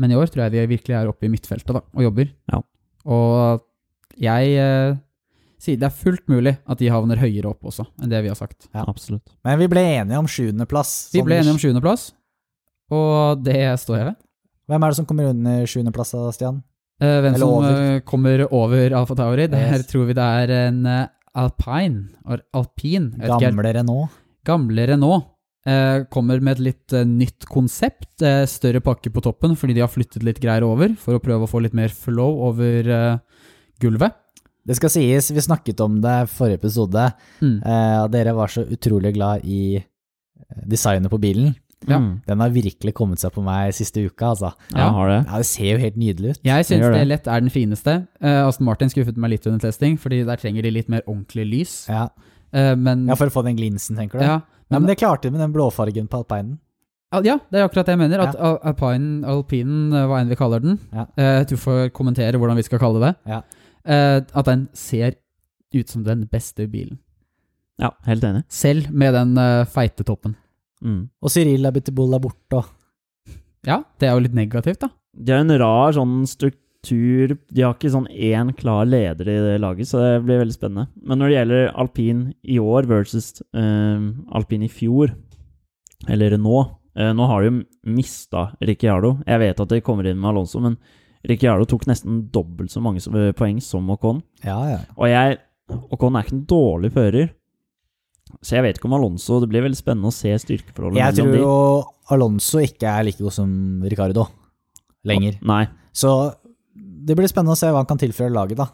Speaker 2: Men i år tror jeg de virkelig er oppe i midtfeltet da, og jobber.
Speaker 3: Ja.
Speaker 2: Og jeg eh, sier det er fullt mulig at de havner høyere opp også enn det vi har sagt.
Speaker 1: Ja.
Speaker 3: Absolutt.
Speaker 1: Men vi ble enige om sjuendeplass.
Speaker 2: Vi ble
Speaker 1: sånn-
Speaker 2: enige om sjuendeplass, og det står jeg ved.
Speaker 1: Hvem er det som kommer under sjuendeplass, da, Stian?
Speaker 2: Eh, hvem
Speaker 1: Eller
Speaker 2: som
Speaker 1: over.
Speaker 2: eh, kommer over Alfa Tauri, der
Speaker 1: Yes.
Speaker 2: tror vi det er en eh, alpine, or alpin, jeg vet ikke helt.
Speaker 1: Gamle Renault.
Speaker 2: gamlere nå, eh, kommer med et litt eh, nytt konsept. Eh, større pakke på toppen, fordi de har flyttet litt greier over for å prøve å få litt mer flow over eh, gulvet.
Speaker 1: Det skal sies, vi snakket om det i forrige episode,
Speaker 2: Mm.
Speaker 1: eh, og dere var så utrolig glad i eh, designet på bilen.
Speaker 2: Ja.
Speaker 3: Mm.
Speaker 1: Den har virkelig kommet seg på meg siste uka, altså.
Speaker 3: Ja,
Speaker 2: Ja.
Speaker 3: har det.
Speaker 1: Ja, det ser jo helt nydelig ut.
Speaker 2: Jeg syns
Speaker 3: gjør
Speaker 2: det
Speaker 3: det.
Speaker 2: lett er den fineste. Eh, Aston Martin skuffet meg litt under testing, fordi der trenger de litt mer ordentlig lys.
Speaker 1: Ja.
Speaker 2: Eh, men
Speaker 1: ja, for å få den glinsen, tenker du?
Speaker 2: ja,
Speaker 1: Nei, men det klarte de med den blåfargen på alpinen.
Speaker 2: Al- Ja, det er akkurat det jeg mener. At al- alpinen, alpinen, eh, hva enn vi kaller den
Speaker 1: Ja.
Speaker 2: eh, Du får kommentere hvordan vi skal kalle det.
Speaker 1: Ja.
Speaker 2: eh, At den ser ut som den beste bilen.
Speaker 3: Ja, helt enig.
Speaker 2: Selv med den eh, feite toppen.
Speaker 3: Mm.
Speaker 1: Og Cyril Abitibol er borte, og
Speaker 2: Ja, det er jo litt negativt, da.
Speaker 3: De har en rar sånn struktur De har ikke sånn én klar leder i det laget, så det blir veldig spennende. Men når det gjelder alpin i år versus eh, alpin i fjor, eller nå eh, Nå har de jo mista Ricciardo. Jeg vet at de kommer inn med Alonso, men Ricciardo tok nesten dobbelt så mange som- poeng som Ocon.
Speaker 1: Ja, ja.
Speaker 3: Og jeg Ocon er ikke en dårlig fører. Så jeg vet ikke om Alonso Det blir veldig spennende å se styrkeforholdet
Speaker 1: Jeg tror
Speaker 3: de.
Speaker 1: jo Alonso ikke er like god som Ricardo lenger.
Speaker 3: Nei.
Speaker 1: Så det blir spennende å se hva han kan tilføre laget, da.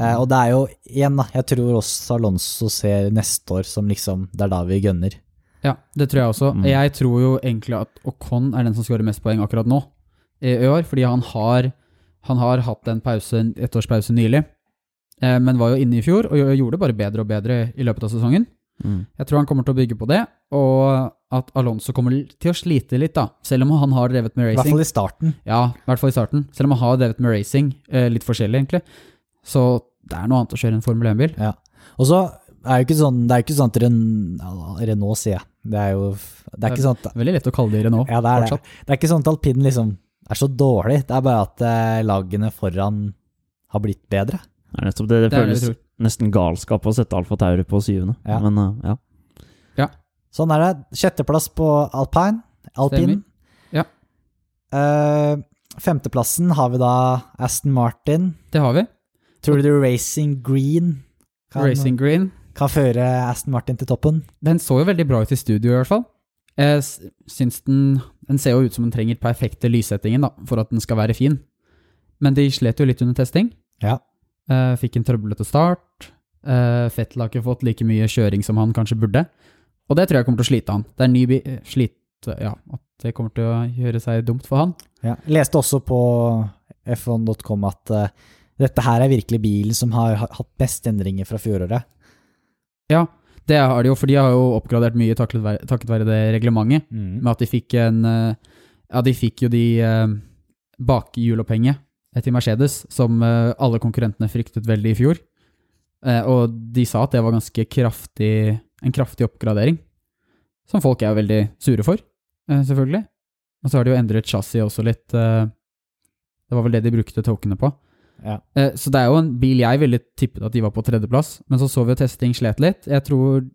Speaker 1: Eh, og det er jo igjen, da. Jeg tror også Alonso ser neste år som liksom Det er da vi gønner.
Speaker 2: Ja, det tror jeg også.
Speaker 3: Mm.
Speaker 2: Jeg tror jo egentlig at Ocon er den som skårer mest poeng akkurat nå i i år, fordi han har, han har hatt en pause, en ettårspause nylig, eh, men var jo inne i fjor og gj- gjorde det bare bedre og bedre i løpet av sesongen.
Speaker 3: Mm.
Speaker 2: Jeg tror han kommer til å bygge på det, og at Alonso kommer l- til å slite litt, da. Selv om han har drevet med
Speaker 1: I hvert
Speaker 2: racing.
Speaker 1: fall i starten.
Speaker 2: Ja, i hvert fall i starten. Selv om han har drevet med racing, eh, litt forskjellig egentlig. Så det er noe annet å kjøre en Formel 1-bil.
Speaker 1: Ja. Og så er det jo ikke sånn Det er jo ikke sånn at Ren, ja, Renault, sier jeg. Det er jo Det er ikke sånn at
Speaker 2: Veldig lett å kalle det Renault.
Speaker 1: Ja, det er det.
Speaker 2: fortsatt.
Speaker 1: Det er ikke sånn at alpinen liksom er så dårlig, det er bare at eh, lagene foran har blitt bedre.
Speaker 3: Det er nettopp det. Det,
Speaker 2: Det er det
Speaker 3: føles
Speaker 2: vi tror.
Speaker 3: nesten galskap å sette Alfa Tauri på syvende.
Speaker 1: Ja.
Speaker 3: Men eh, ja.
Speaker 1: Sånn er det. Sjetteplass på alpine. Alpin.
Speaker 2: Stemmer. Ja.
Speaker 1: Eh, femteplassen har vi da Aston Martin.
Speaker 2: Det har vi.
Speaker 1: Tror du Racing Green kan,
Speaker 2: Racing Green.
Speaker 1: kan føre Aston Martin til toppen?
Speaker 2: Den så jo veldig bra ut i studio, i hvert fall. Jeg s- syns den Den ser jo ut som den trenger perfekte lyssettingen da, for at den skal være fin. Men de slet jo litt under testing.
Speaker 1: Ja.
Speaker 2: Eh, fikk en trøblete start. Uh, Fettel har ikke fått like mye kjøring som han kanskje burde. Og det tror jeg kommer til å slite han. Det er en ny bi eh, slit... Ja, at det kommer til å gjøre seg dumt for han.
Speaker 1: Ja. Leste også på f1.com at eh, dette her er virkelig bilen som har ha- hatt best endringer fra fjoråret.
Speaker 2: Ja, det har de jo, for de har jo oppgradert mye taklet være- takket være det reglementet. med at de fikk en eh, Ja, de fikk jo de eh, bakhjulopphenget til Mercedes, som eh, alle konkurrentene fryktet veldig i fjor. Eh, Og de sa at det var ganske kraftig En kraftig oppgradering, som folk er jo veldig sure for, eh, selvfølgelig. Og så har de jo endret chassis også litt. eh, Det var vel det de brukte tokene på.
Speaker 1: Ja.
Speaker 2: Eh, Så det er jo en bil jeg ville tippet at de var på tredjeplass, men så så vi jo testing slet litt. Jeg tror,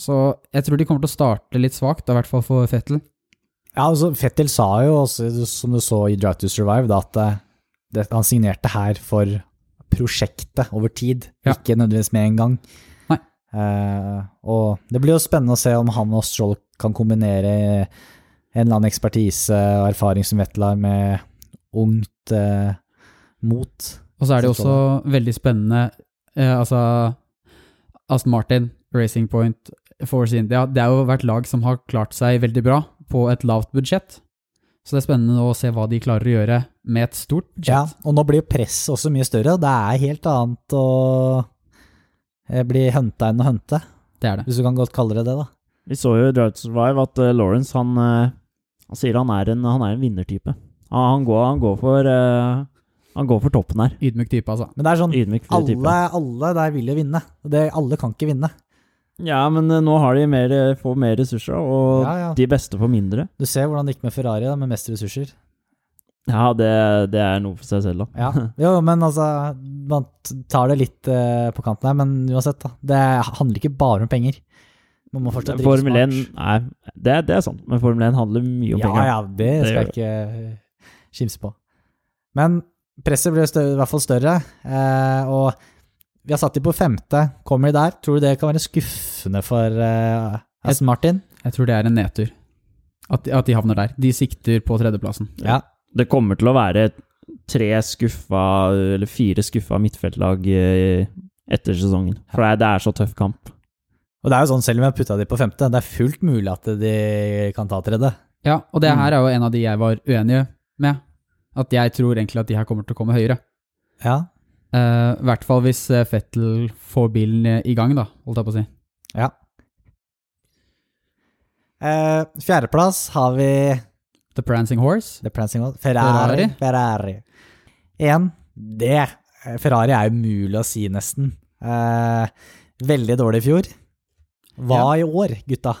Speaker 2: så jeg tror de kommer til å starte litt svakt, da, i hvert fall for Fettel.
Speaker 1: Ja, altså, Fettel sa jo også, som du så i Drive to Survive, da, at eh, det, han signerte her for prosjektet over tid,
Speaker 2: Ja.
Speaker 1: ikke nødvendigvis med en gang.
Speaker 2: Nei.
Speaker 1: Eh, og det blir jo spennende å se om han og Stroll kan kombinere eh, en eller annen ekspertise og erfaring som Vettel har, med ungt eh, mot.
Speaker 2: Og så er det jo
Speaker 1: Så
Speaker 2: også veldig spennende eh, Altså, Aston Martin, Racing Point, Force India Det har jo vært lag som har klart seg veldig bra på et lavt budsjett. Så det er spennende å se hva de klarer å gjøre med et stort
Speaker 1: Ja,
Speaker 2: budsjett.
Speaker 1: og nå blir jo presset også mye større, og det er helt annet å eh, bli hunta enn å hunte,
Speaker 2: Det er det.
Speaker 1: hvis du kan godt kalle det det, da.
Speaker 3: Vi så jo i Drive to Survive at eh, Lawrence han, eh, han sier han er en, han er en vinnertype. Han, han, går, han, går for, eh, han går for toppen her.
Speaker 2: Ydmyk type, altså.
Speaker 1: Men det er sånn
Speaker 3: Ydmyk for
Speaker 1: Alle,
Speaker 3: type.
Speaker 1: alle der vil jo vinne. Og Det, alle kan ikke vinne.
Speaker 3: Ja, men eh, nå har de mer, eh, får mer ressurser, og
Speaker 1: Ja, ja.
Speaker 3: de beste får mindre.
Speaker 1: Du ser hvordan det gikk med Ferrari, da, med mest ressurser.
Speaker 3: Ja, det, det er noe for seg selv, da.
Speaker 1: Ja. Jo, men altså, man t- tar det litt eh, på kanten her, men uansett, da. Det handler ikke bare om penger. Man må fortsatt drive
Speaker 3: Formel 1 Nei, det, det er sant, men Formel 1 handler mye om
Speaker 1: Ja,
Speaker 3: penger.
Speaker 1: ja, det
Speaker 3: Det
Speaker 1: skal jeg ikke eh, skimse på. Men presset blir større, i hvert fall større, eh, og vi har satt dem på femte. Kommer de der? Tror du det kan være skuffende for eh, Aston Martin?
Speaker 2: Jeg tror det er en nedtur. At, de- at de havner der. De sikter på tredjeplassen.
Speaker 1: Ja.
Speaker 3: Det kommer til å være tre skuffa, eller fire skuffa midtfeltlag eh, etter sesongen. For det er- det er så tøff kamp.
Speaker 1: Og det er jo sånn, selv om jeg putta de på femte, det er fullt mulig at de kan ta tredje.
Speaker 2: Ja, og det her er jo en av de jeg var uenig med. At jeg tror egentlig at de her kommer til å komme høyere.
Speaker 1: Ja.
Speaker 2: Eh, I hvert fall hvis eh, Fettel får bilen eh, i gang, da, holdt jeg på å si.
Speaker 1: Eh, fjerdeplass har vi
Speaker 2: The Prancing Horse.
Speaker 1: The Prancing Horse. Ferrari. Ferrari. Igjen, det Eh, Ferrari er umulig å si, nesten. Eh, veldig dårlig i fjor. Hva i år, gutta?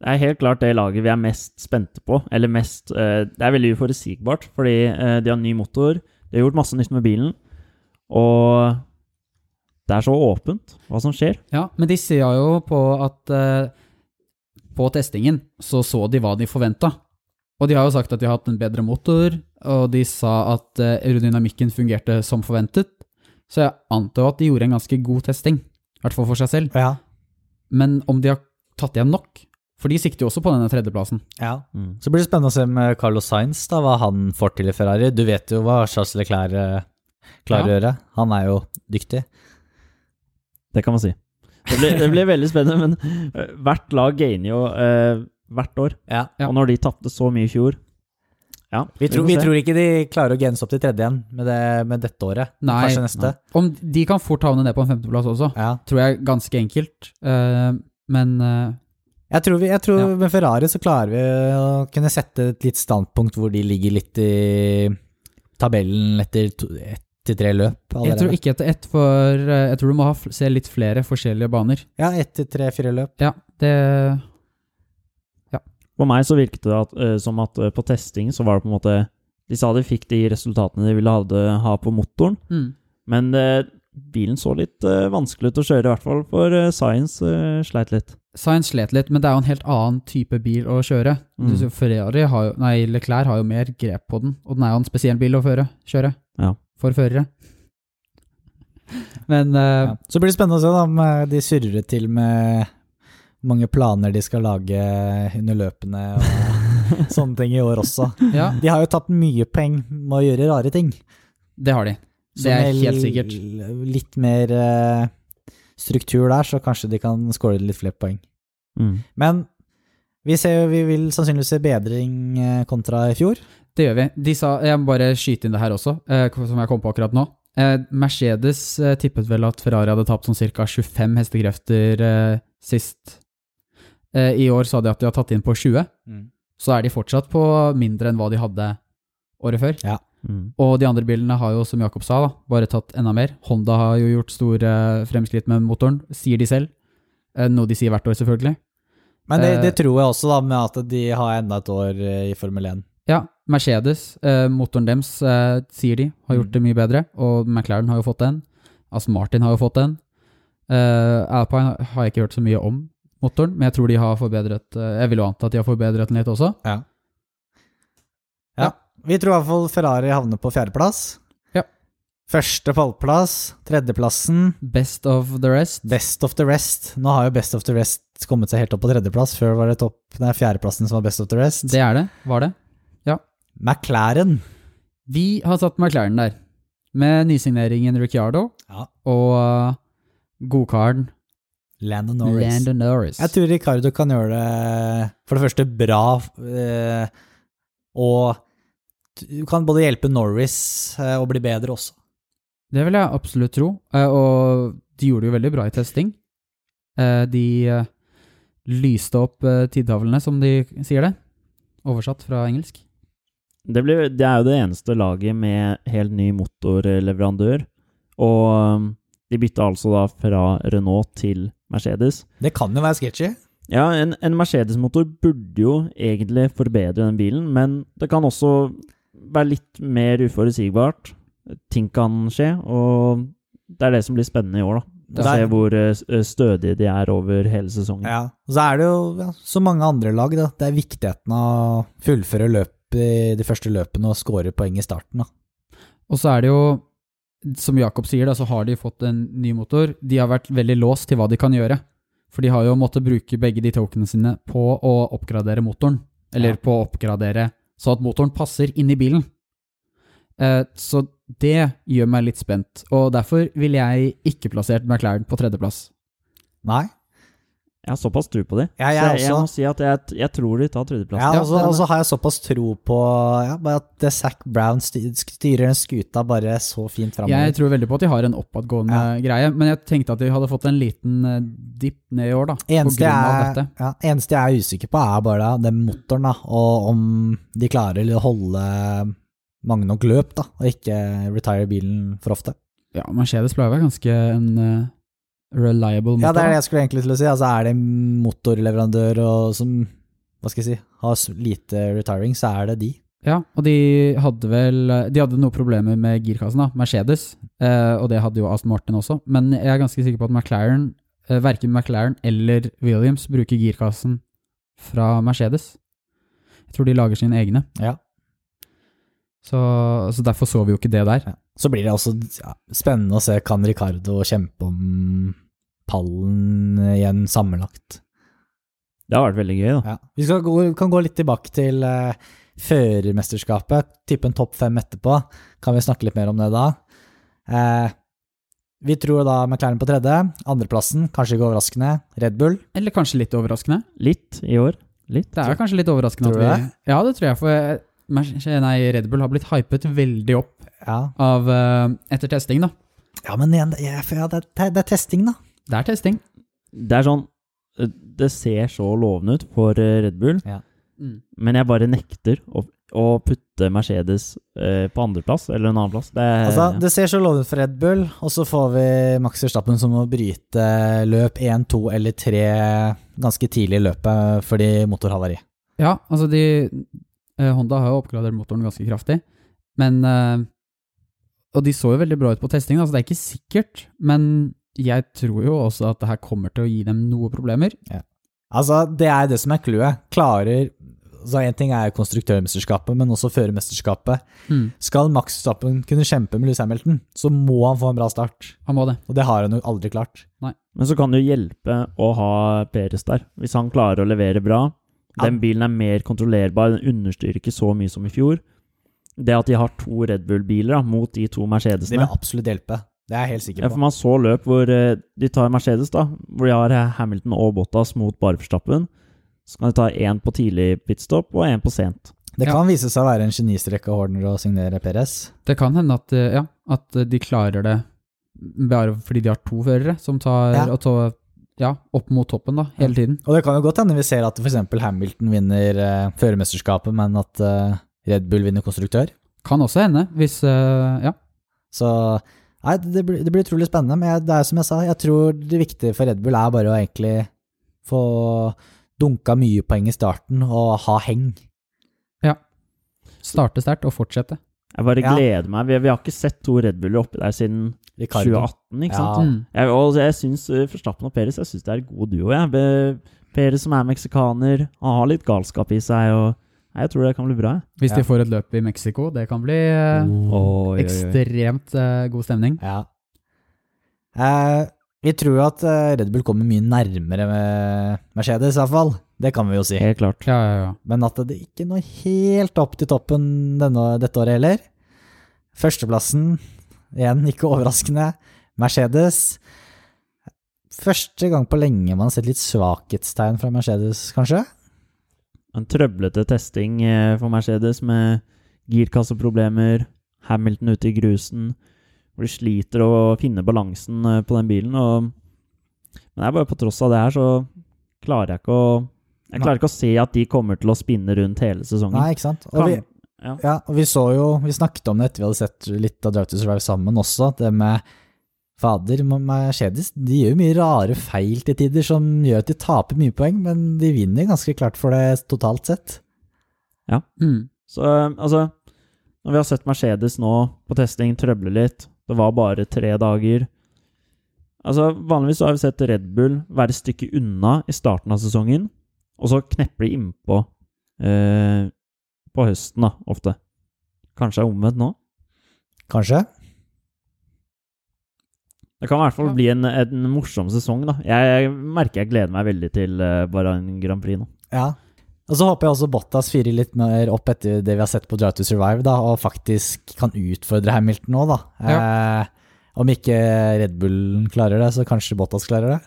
Speaker 3: Det er helt klart det laget vi er mest spente på. Eller mest eh, Det er veldig uforutsigbart, fordi eh, de har ny motor. De har gjort masse nytt med bilen. Og det er så åpent hva som skjer.
Speaker 2: Ja, men de ser jo på at eh, på testingen så så de hva de forventa. Og de har jo sagt at de har hatt en bedre motor, og de sa at eh, aerodynamikken fungerte som forventet. Så jeg antar jo at de gjorde en ganske god testing, i hvert fall for seg selv.
Speaker 1: Ja,
Speaker 2: Men om de har tatt igjen nok? For de sikter jo også på denne tredjeplassen.
Speaker 1: ja. Så blir det spennende å se med Carlos Sainz, da, hva han får til i Ferrari. Du vet jo hva Charles Leclerc eh, klarer å gjøre. Han er jo dyktig.
Speaker 3: Det kan man si. Det blir, det blir veldig spennende, men eh, hvert lag gainer jo eh, hvert år.
Speaker 1: Ja.
Speaker 2: Ja.
Speaker 3: Og når de tapte så mye i fjor Ja,
Speaker 1: Vi, tror,
Speaker 3: får
Speaker 1: vi
Speaker 3: se.
Speaker 1: tror ikke de klarer å gense opp til tredje igjen med, det, med dette året.
Speaker 2: Nei.
Speaker 1: Kanskje neste.
Speaker 2: Om de kan fort havne ned på en femteplass også,
Speaker 1: Ja.
Speaker 2: tror jeg ganske enkelt. Eh, men eh,
Speaker 1: Jeg tror, vi, jeg tror
Speaker 2: Ja.
Speaker 1: med Ferrari så klarer vi å kunne sette et litt standpunkt hvor de ligger litt i tabellen etter to, ett til tre løp allerede.
Speaker 2: jeg tror ikke etter ett, for eh, jeg tror du må ha, fl- se litt flere forskjellige baner.
Speaker 1: Ja, ett til tre-fire løp.
Speaker 2: Ja, det
Speaker 3: For meg så virket det at, eh, som at eh, på testing så var det på en måte De sa de fikk de resultatene de ville ha, ha på motoren,
Speaker 2: mm.
Speaker 3: men eh, bilen så litt eh, vanskelig ut å kjøre, i hvert fall for eh, Science eh, sleit litt.
Speaker 2: Science slet litt, men det er jo en helt annen type bil å kjøre. Du
Speaker 3: Mm.
Speaker 2: ser Ferrari har jo, nei, Leclerc har jo mer grep på den, og den er jo en spesiell bil å føre, kjøre.
Speaker 3: Ja.
Speaker 2: For førere. Men
Speaker 1: Ja.
Speaker 2: eh,
Speaker 1: Så blir det spennende å se da, om eh, de surrer til med mange planer de skal lage under løpene og sånne ting i år også.
Speaker 2: ja.
Speaker 1: De har jo tatt mye poeng med å gjøre rare ting.
Speaker 2: det har de.
Speaker 1: Så
Speaker 2: Det er
Speaker 1: med
Speaker 2: helt sikkert.
Speaker 1: l- Litt mer eh, struktur der, så kanskje de kan score litt flere poeng.
Speaker 3: Mm.
Speaker 1: Men vi, ser, jo- vi vil sannsynligvis se bedring eh, kontra i fjor.
Speaker 2: Det gjør vi. De sa, jeg må bare skyte inn det her også, eh, som jeg kom på akkurat nå. Eh, Mercedes eh, tippet vel at Ferrari hadde tapt sånn ca. 25 hestekrefter eh, sist. Eh, I år sa de at de har tatt inn på 20,
Speaker 1: Mm.
Speaker 2: så er de fortsatt på mindre enn hva de hadde året før.
Speaker 3: Mm.
Speaker 2: Og de andre bilene har jo, som Jakob sa, da, bare tatt enda mer. Honda har jo gjort store eh, fremskritt med motoren, sier de selv. Eh, Noe de sier hvert år, selvfølgelig.
Speaker 1: Men det,
Speaker 2: Eh.
Speaker 1: det tror jeg også, da, med at de har enda et år eh, i Formel 1.
Speaker 2: Ja, Mercedes, eh, motoren deres, eh, sier de, har gjort det mye bedre. Og McLaren har jo fått en. Aston Martin har jo fått en. Eh, Alpine har jeg ikke hørt så mye om motoren, men jeg tror de har forbedret eh, Jeg vil jo anta at de har forbedret den litt også.
Speaker 1: Ja. Vi tror i hvert fall Ferrari havner på fjerdeplass.
Speaker 2: Ja.
Speaker 1: Første pallplass, tredjeplassen,
Speaker 2: Best of the rest.
Speaker 1: best of the rest. Nå har jo best of the rest kommet seg helt opp på tredjeplass. Før var det topp, nei, fjerdeplassen som var best of the rest.
Speaker 2: Det er det. Var det.
Speaker 1: McLaren.
Speaker 2: Vi har satt McLaren der, med nysigneringen Ricciardo.
Speaker 1: Ja.
Speaker 2: og uh, godkaren
Speaker 1: Landon Norris.
Speaker 2: Lando Norris.
Speaker 1: Jeg tror Ricardo kan gjøre det for det første bra, eh, og du kan både hjelpe Norris eh, å bli bedre også.
Speaker 2: Det vil jeg absolutt tro, eh, og de gjorde det jo veldig bra i testing. Eh, De eh, lyste opp eh, tidtavlene, som de sier det. Oversatt fra engelsk.
Speaker 3: Det, blir, det er jo det eneste laget med helt ny motorleverandør. Og um, de bytta altså da fra Renault til Mercedes.
Speaker 1: Det kan jo være sketchy.
Speaker 3: Ja, en, en Mercedes-motor burde jo egentlig forbedre den bilen, men det kan også være litt mer uforutsigbart. Ting kan skje, og det er det som blir spennende i år, da. Å
Speaker 1: Der-
Speaker 3: se hvor eh, s- eh, stødige de er over hele sesongen.
Speaker 1: Mm. Ja. Og så er det jo ja, så mange andre lag, da. Det er viktigheten av å fullføre løpet i de første løpene og score poeng i starten, da.
Speaker 2: Og så er det jo, som Jakob sier, da, så har de fått en ny motor. De har vært veldig låst til hva de kan gjøre. For de har jo måttet bruke begge de tokenene sine på å oppgradere motoren. Eller
Speaker 1: Ja.
Speaker 2: på å oppgradere så at motoren passer inn i bilen. Eh, så det gjør meg litt spent. Og derfor ville jeg ikke plassert McLaren på tredjeplass.
Speaker 1: Nei.
Speaker 3: Jeg har såpass tro på de.
Speaker 1: Ja, jeg
Speaker 3: så jeg, jeg
Speaker 1: også.
Speaker 3: må si at jeg, jeg tror de tar
Speaker 1: Ja,
Speaker 3: tredjeplassen.
Speaker 2: Ja,
Speaker 1: og så
Speaker 2: det er
Speaker 1: og
Speaker 2: det.
Speaker 1: så har jeg såpass tro på ja, bare at det Zac Brown sty- styrer den skuta bare så fint
Speaker 2: Jeg
Speaker 1: framover.
Speaker 2: tror veldig på at de har en oppadgående greie, men jeg tenkte at de hadde fått en liten eh, dipp ned i år, da.
Speaker 1: Eneste
Speaker 2: på grunn av
Speaker 1: jeg,
Speaker 2: dette.
Speaker 1: ja, eneste jeg er usikker på, er bare den motoren, da, og om de klarer å holde mange nok løp, da, og ikke retire bilen for ofte.
Speaker 2: Ja, Mercedes pleier å være ganske en eh, reliable motor.
Speaker 1: Ja, det er
Speaker 2: da.
Speaker 1: det jeg skulle egentlig til å si. Altså, er det en motorleverandør og, som hva skal jeg si, har s- lite retiring, så er det de.
Speaker 2: Ja, og de hadde vel De hadde noen problemer med girkassen, da, Mercedes. Eh, og det hadde jo Aston Martin også. Men jeg er ganske sikker på at McLaren, eh, verken McLaren eller Williams bruker girkassen fra Mercedes. Jeg tror de lager sine egne.
Speaker 1: Ja.
Speaker 2: Så, så derfor så vi jo ikke det der.
Speaker 1: Så blir det også ja, spennende å se kan Ricardo kjempe om pallen igjen sammenlagt.
Speaker 3: Det har vært veldig gøy, da.
Speaker 1: Ja. Vi skal gå, kan gå litt tilbake til eh, førermesterskapet, tippe en topp fem etterpå. Kan vi snakke litt mer om det da? Eh, vi tror da McLaren på tredje. Andreplassen, kanskje ikke overraskende, Red Bull.
Speaker 2: Eller kanskje litt overraskende.
Speaker 3: Litt i år. Litt.
Speaker 2: Det er kanskje litt overraskende
Speaker 1: Tror du
Speaker 2: at vi Ja, det tror jeg, for eh, Merce- nei, Red Bull har blitt hypet veldig opp
Speaker 1: Ja,
Speaker 2: av, eh, etter testing, da.
Speaker 1: ja men igjen, det- ja, for ja, det, er- det er testing, da.
Speaker 2: Det er testing.
Speaker 3: Det er sånn eh, Det ser så lovende ut for eh, Red Bull,
Speaker 2: Mm.
Speaker 3: men jeg bare nekter å, å putte Mercedes eh, på andreplass eller en annen plass. Det er,
Speaker 1: Altså, det ser så lovende ut for Red Bull, og så får vi Max Verstappen som må bryte eh, løp 1, 2 eller 3 ganske tidlig i løpet fordi motorhavari.
Speaker 2: Ja, altså de eh, Honda har jo oppgradert motoren ganske kraftig, men eh, Og de så jo veldig bra ut på testing, altså det er ikke sikkert, men jeg tror jo også at det her kommer til å gi dem noe problemer.
Speaker 1: Altså, det er det som er clouet. Klarer så En ting er konstruktørmesterskapet, men også førermesterskapet.
Speaker 2: Mm.
Speaker 1: Skal Max Verstappen kunne kjempe med Louis Hamilton, så må han få en bra start.
Speaker 2: Han må det.
Speaker 1: Og det har han jo aldri klart.
Speaker 3: Men så kan det jo hjelpe å ha Peres der. Hvis han klarer å levere bra.
Speaker 1: Ja.
Speaker 3: Den bilen er mer kontrollerbar, den understyrer ikke så mye som i fjor. Det at de har to Red Bull-biler da, mot de to
Speaker 1: Det vil
Speaker 3: Mercedesene
Speaker 1: absolutt hjelpe. Det er jeg helt
Speaker 3: ja,
Speaker 1: sikker
Speaker 3: For
Speaker 1: på.
Speaker 3: man så løp hvor eh, de tar Mercedes, da, hvor de har eh, Hamilton og Bottas mot bare Verstappen. Så kan de ta én på tidlig pitstop og én på sent.
Speaker 1: Det
Speaker 2: Ja.
Speaker 1: kan vise seg å være en genistrek av Horner å signere Perez.
Speaker 2: Det kan hende at, eh, ja, at de klarer det bare fordi de har to førere som tar
Speaker 1: Ja.
Speaker 2: og tar, ja, opp mot toppen da, hele tiden.
Speaker 1: Og det kan jo godt hende vi ser at f.eks. Hamilton vinner eh, førermesterskapet, men at eh, Red Bull vinner konstruktør.
Speaker 2: Kan også hende, hvis eh, Ja.
Speaker 1: Så nei, det blir, det blir utrolig spennende. Men jeg, det er som jeg sa, jeg tror det viktige for Red Bull er bare å egentlig få dunka mye poeng i starten og ha heng.
Speaker 2: Starte sterkt og fortsette.
Speaker 3: Jeg bare
Speaker 1: Ja.
Speaker 3: gleder meg. Vi, vi har ikke sett to Red Buller oppi der siden
Speaker 1: Ricardo.
Speaker 3: 2018, ikke sant?
Speaker 1: Ja.
Speaker 2: Mm.
Speaker 3: Jeg, og jeg syns Forstappen og Peres jeg synes det er en god duo. Jeg. Be- Peres som er meksikaner, han har litt galskap i seg. Og Nei, jeg tror det kan bli bra. jeg.
Speaker 2: Hvis
Speaker 1: Ja.
Speaker 2: de får et løp i Mexico, det kan bli eh, ekstremt eh, god stemning.
Speaker 3: Mm.
Speaker 1: Ja. Eh, vi tror jo at eh, Red Bull kommer mye nærmere med Mercedes, i hvert fall. Det kan vi jo si.
Speaker 3: Helt klart.
Speaker 2: Ja, ja, ja.
Speaker 1: men at det ikke når helt opp til toppen denne, dette året heller. Førsteplassen, igjen ikke overraskende, Mercedes. Første gang på lenge man har sett litt svakhetstegn fra Mercedes, kanskje?
Speaker 3: En trøblete testing eh, for Mercedes med girkasseproblemer, Hamilton ute i grusen, hvor de sliter å finne balansen eh, på den bilen. Og, men det er bare på tross av det her, så klarer jeg ikke å jeg klarer ikke å se at de kommer til å spinne rundt hele sesongen.
Speaker 1: Nei, ikke sant? Og vi,
Speaker 3: Mm. Kan- ja.
Speaker 1: ja, og vi så jo, vi snakket om det etter vi hadde sett litt av Drive to Survive sammen også, det med fader, Mercedes, de gjør mye rare feil til tider som gjør at de taper mye poeng, men de vinner ganske klart for det totalt sett.
Speaker 2: Mm.
Speaker 3: Så eh, altså Når vi har sett Mercedes nå på testing trøble litt Det var bare tre dager. Altså Vanligvis så har vi sett Red Bull være et stykke unna i starten av sesongen, og så knepper de innpå eh, på høsten, da, ofte. Kanskje er omvendt nå?
Speaker 1: Kanskje?
Speaker 3: Det kan i hvert fall
Speaker 2: Ja.
Speaker 3: bli en, en morsom sesong, da. Jeg, jeg merker jeg gleder meg veldig til eh, Bahrain Grand Prix nå.
Speaker 1: Ja. Og så håper jeg også Bottas firer litt mer opp etter det vi har sett på Drive to Survive, da, og faktisk kan utfordre Hamilton nå, da. Eh, om ikke Red Bullen klarer det, så kanskje Bottas klarer det.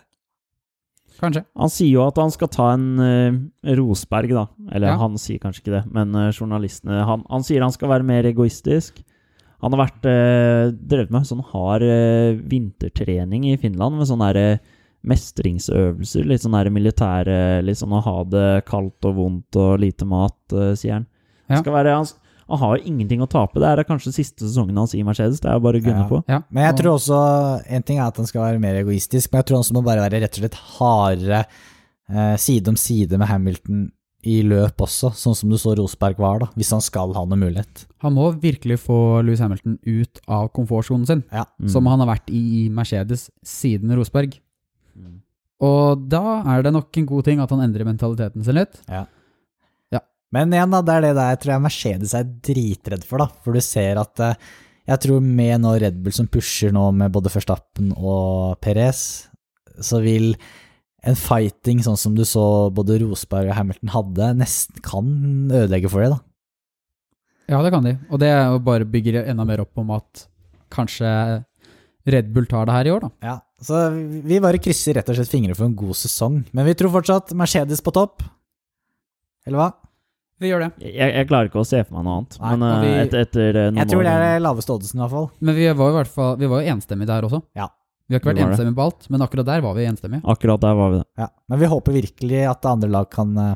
Speaker 2: Kanskje.
Speaker 3: Han sier jo at han skal ta en eh, Rosberg, da. Eller
Speaker 2: Ja.
Speaker 3: han sier kanskje ikke det, men eh, journalistene han, han sier han skal være mer egoistisk. Han har vært eh, drevet med sånn hard eh, vintertrening i Finland med sånne der, eh, mestringsøvelser. Litt sånn der militære Litt sånn å ha det kaldt og vondt og lite mat, eh, sier han.
Speaker 2: Ja.
Speaker 3: Han, skal være, han, s- han har jo ingenting å tape. Det her er kanskje siste sesongen hans i Mercedes. Det er jo bare å gunne
Speaker 1: Ja.
Speaker 3: på.
Speaker 2: Ja.
Speaker 1: Men jeg
Speaker 2: Og-
Speaker 1: tror også En ting er at han skal være mer egoistisk, men jeg tror han også må bare være rett og slett hardere eh, side om side med Hamilton i løp også, sånn som du så Rosberg var, da, hvis han skal ha noe mulighet.
Speaker 2: Han må virkelig få Louis Hamilton ut av komfortsonen sin,
Speaker 1: Ja.
Speaker 3: Mm.
Speaker 2: som han har vært i i Mercedes siden Rosberg.
Speaker 3: Mm.
Speaker 2: Og da er det nok en god ting at han endrer mentaliteten sin litt.
Speaker 1: Men igjen, da, det er det der jeg tror jeg Mercedes er dritredd for, da. For du ser at eh, jeg tror med nå Red Bull som pusher nå med både Verstappen og Perez, så vil en fighting sånn som du så både Rosberg og Hamilton hadde, nesten kan ødelegge for det, da.
Speaker 2: Ja, det kan de. Og det er jo bare bygger enda mer opp om at kanskje Red Bull tar det her i år, da.
Speaker 1: Ja, så vi bare krysser rett og slett fingre for en god sesong. Men vi tror fortsatt Mercedes på topp. Eller hva?
Speaker 2: Vi gjør det.
Speaker 3: Jeg, jeg klarer ikke å se for meg noe annet.
Speaker 1: Nei,
Speaker 3: men
Speaker 2: og
Speaker 3: eh,
Speaker 2: vi-
Speaker 3: et, etter eh, noen
Speaker 1: Jeg tror
Speaker 3: år-
Speaker 1: det er det laveste oddsen, i hvert fall.
Speaker 2: Men vi var jo i hvert fall vi var jo enstemmige der også.
Speaker 1: Ja.
Speaker 2: Vi har ikke vært
Speaker 3: Vi var det.
Speaker 2: enstemmige på alt, men akkurat der var vi enstemmige.
Speaker 3: Akkurat der var vi det.
Speaker 1: Ja. Men vi håper virkelig at andre lag kan eh,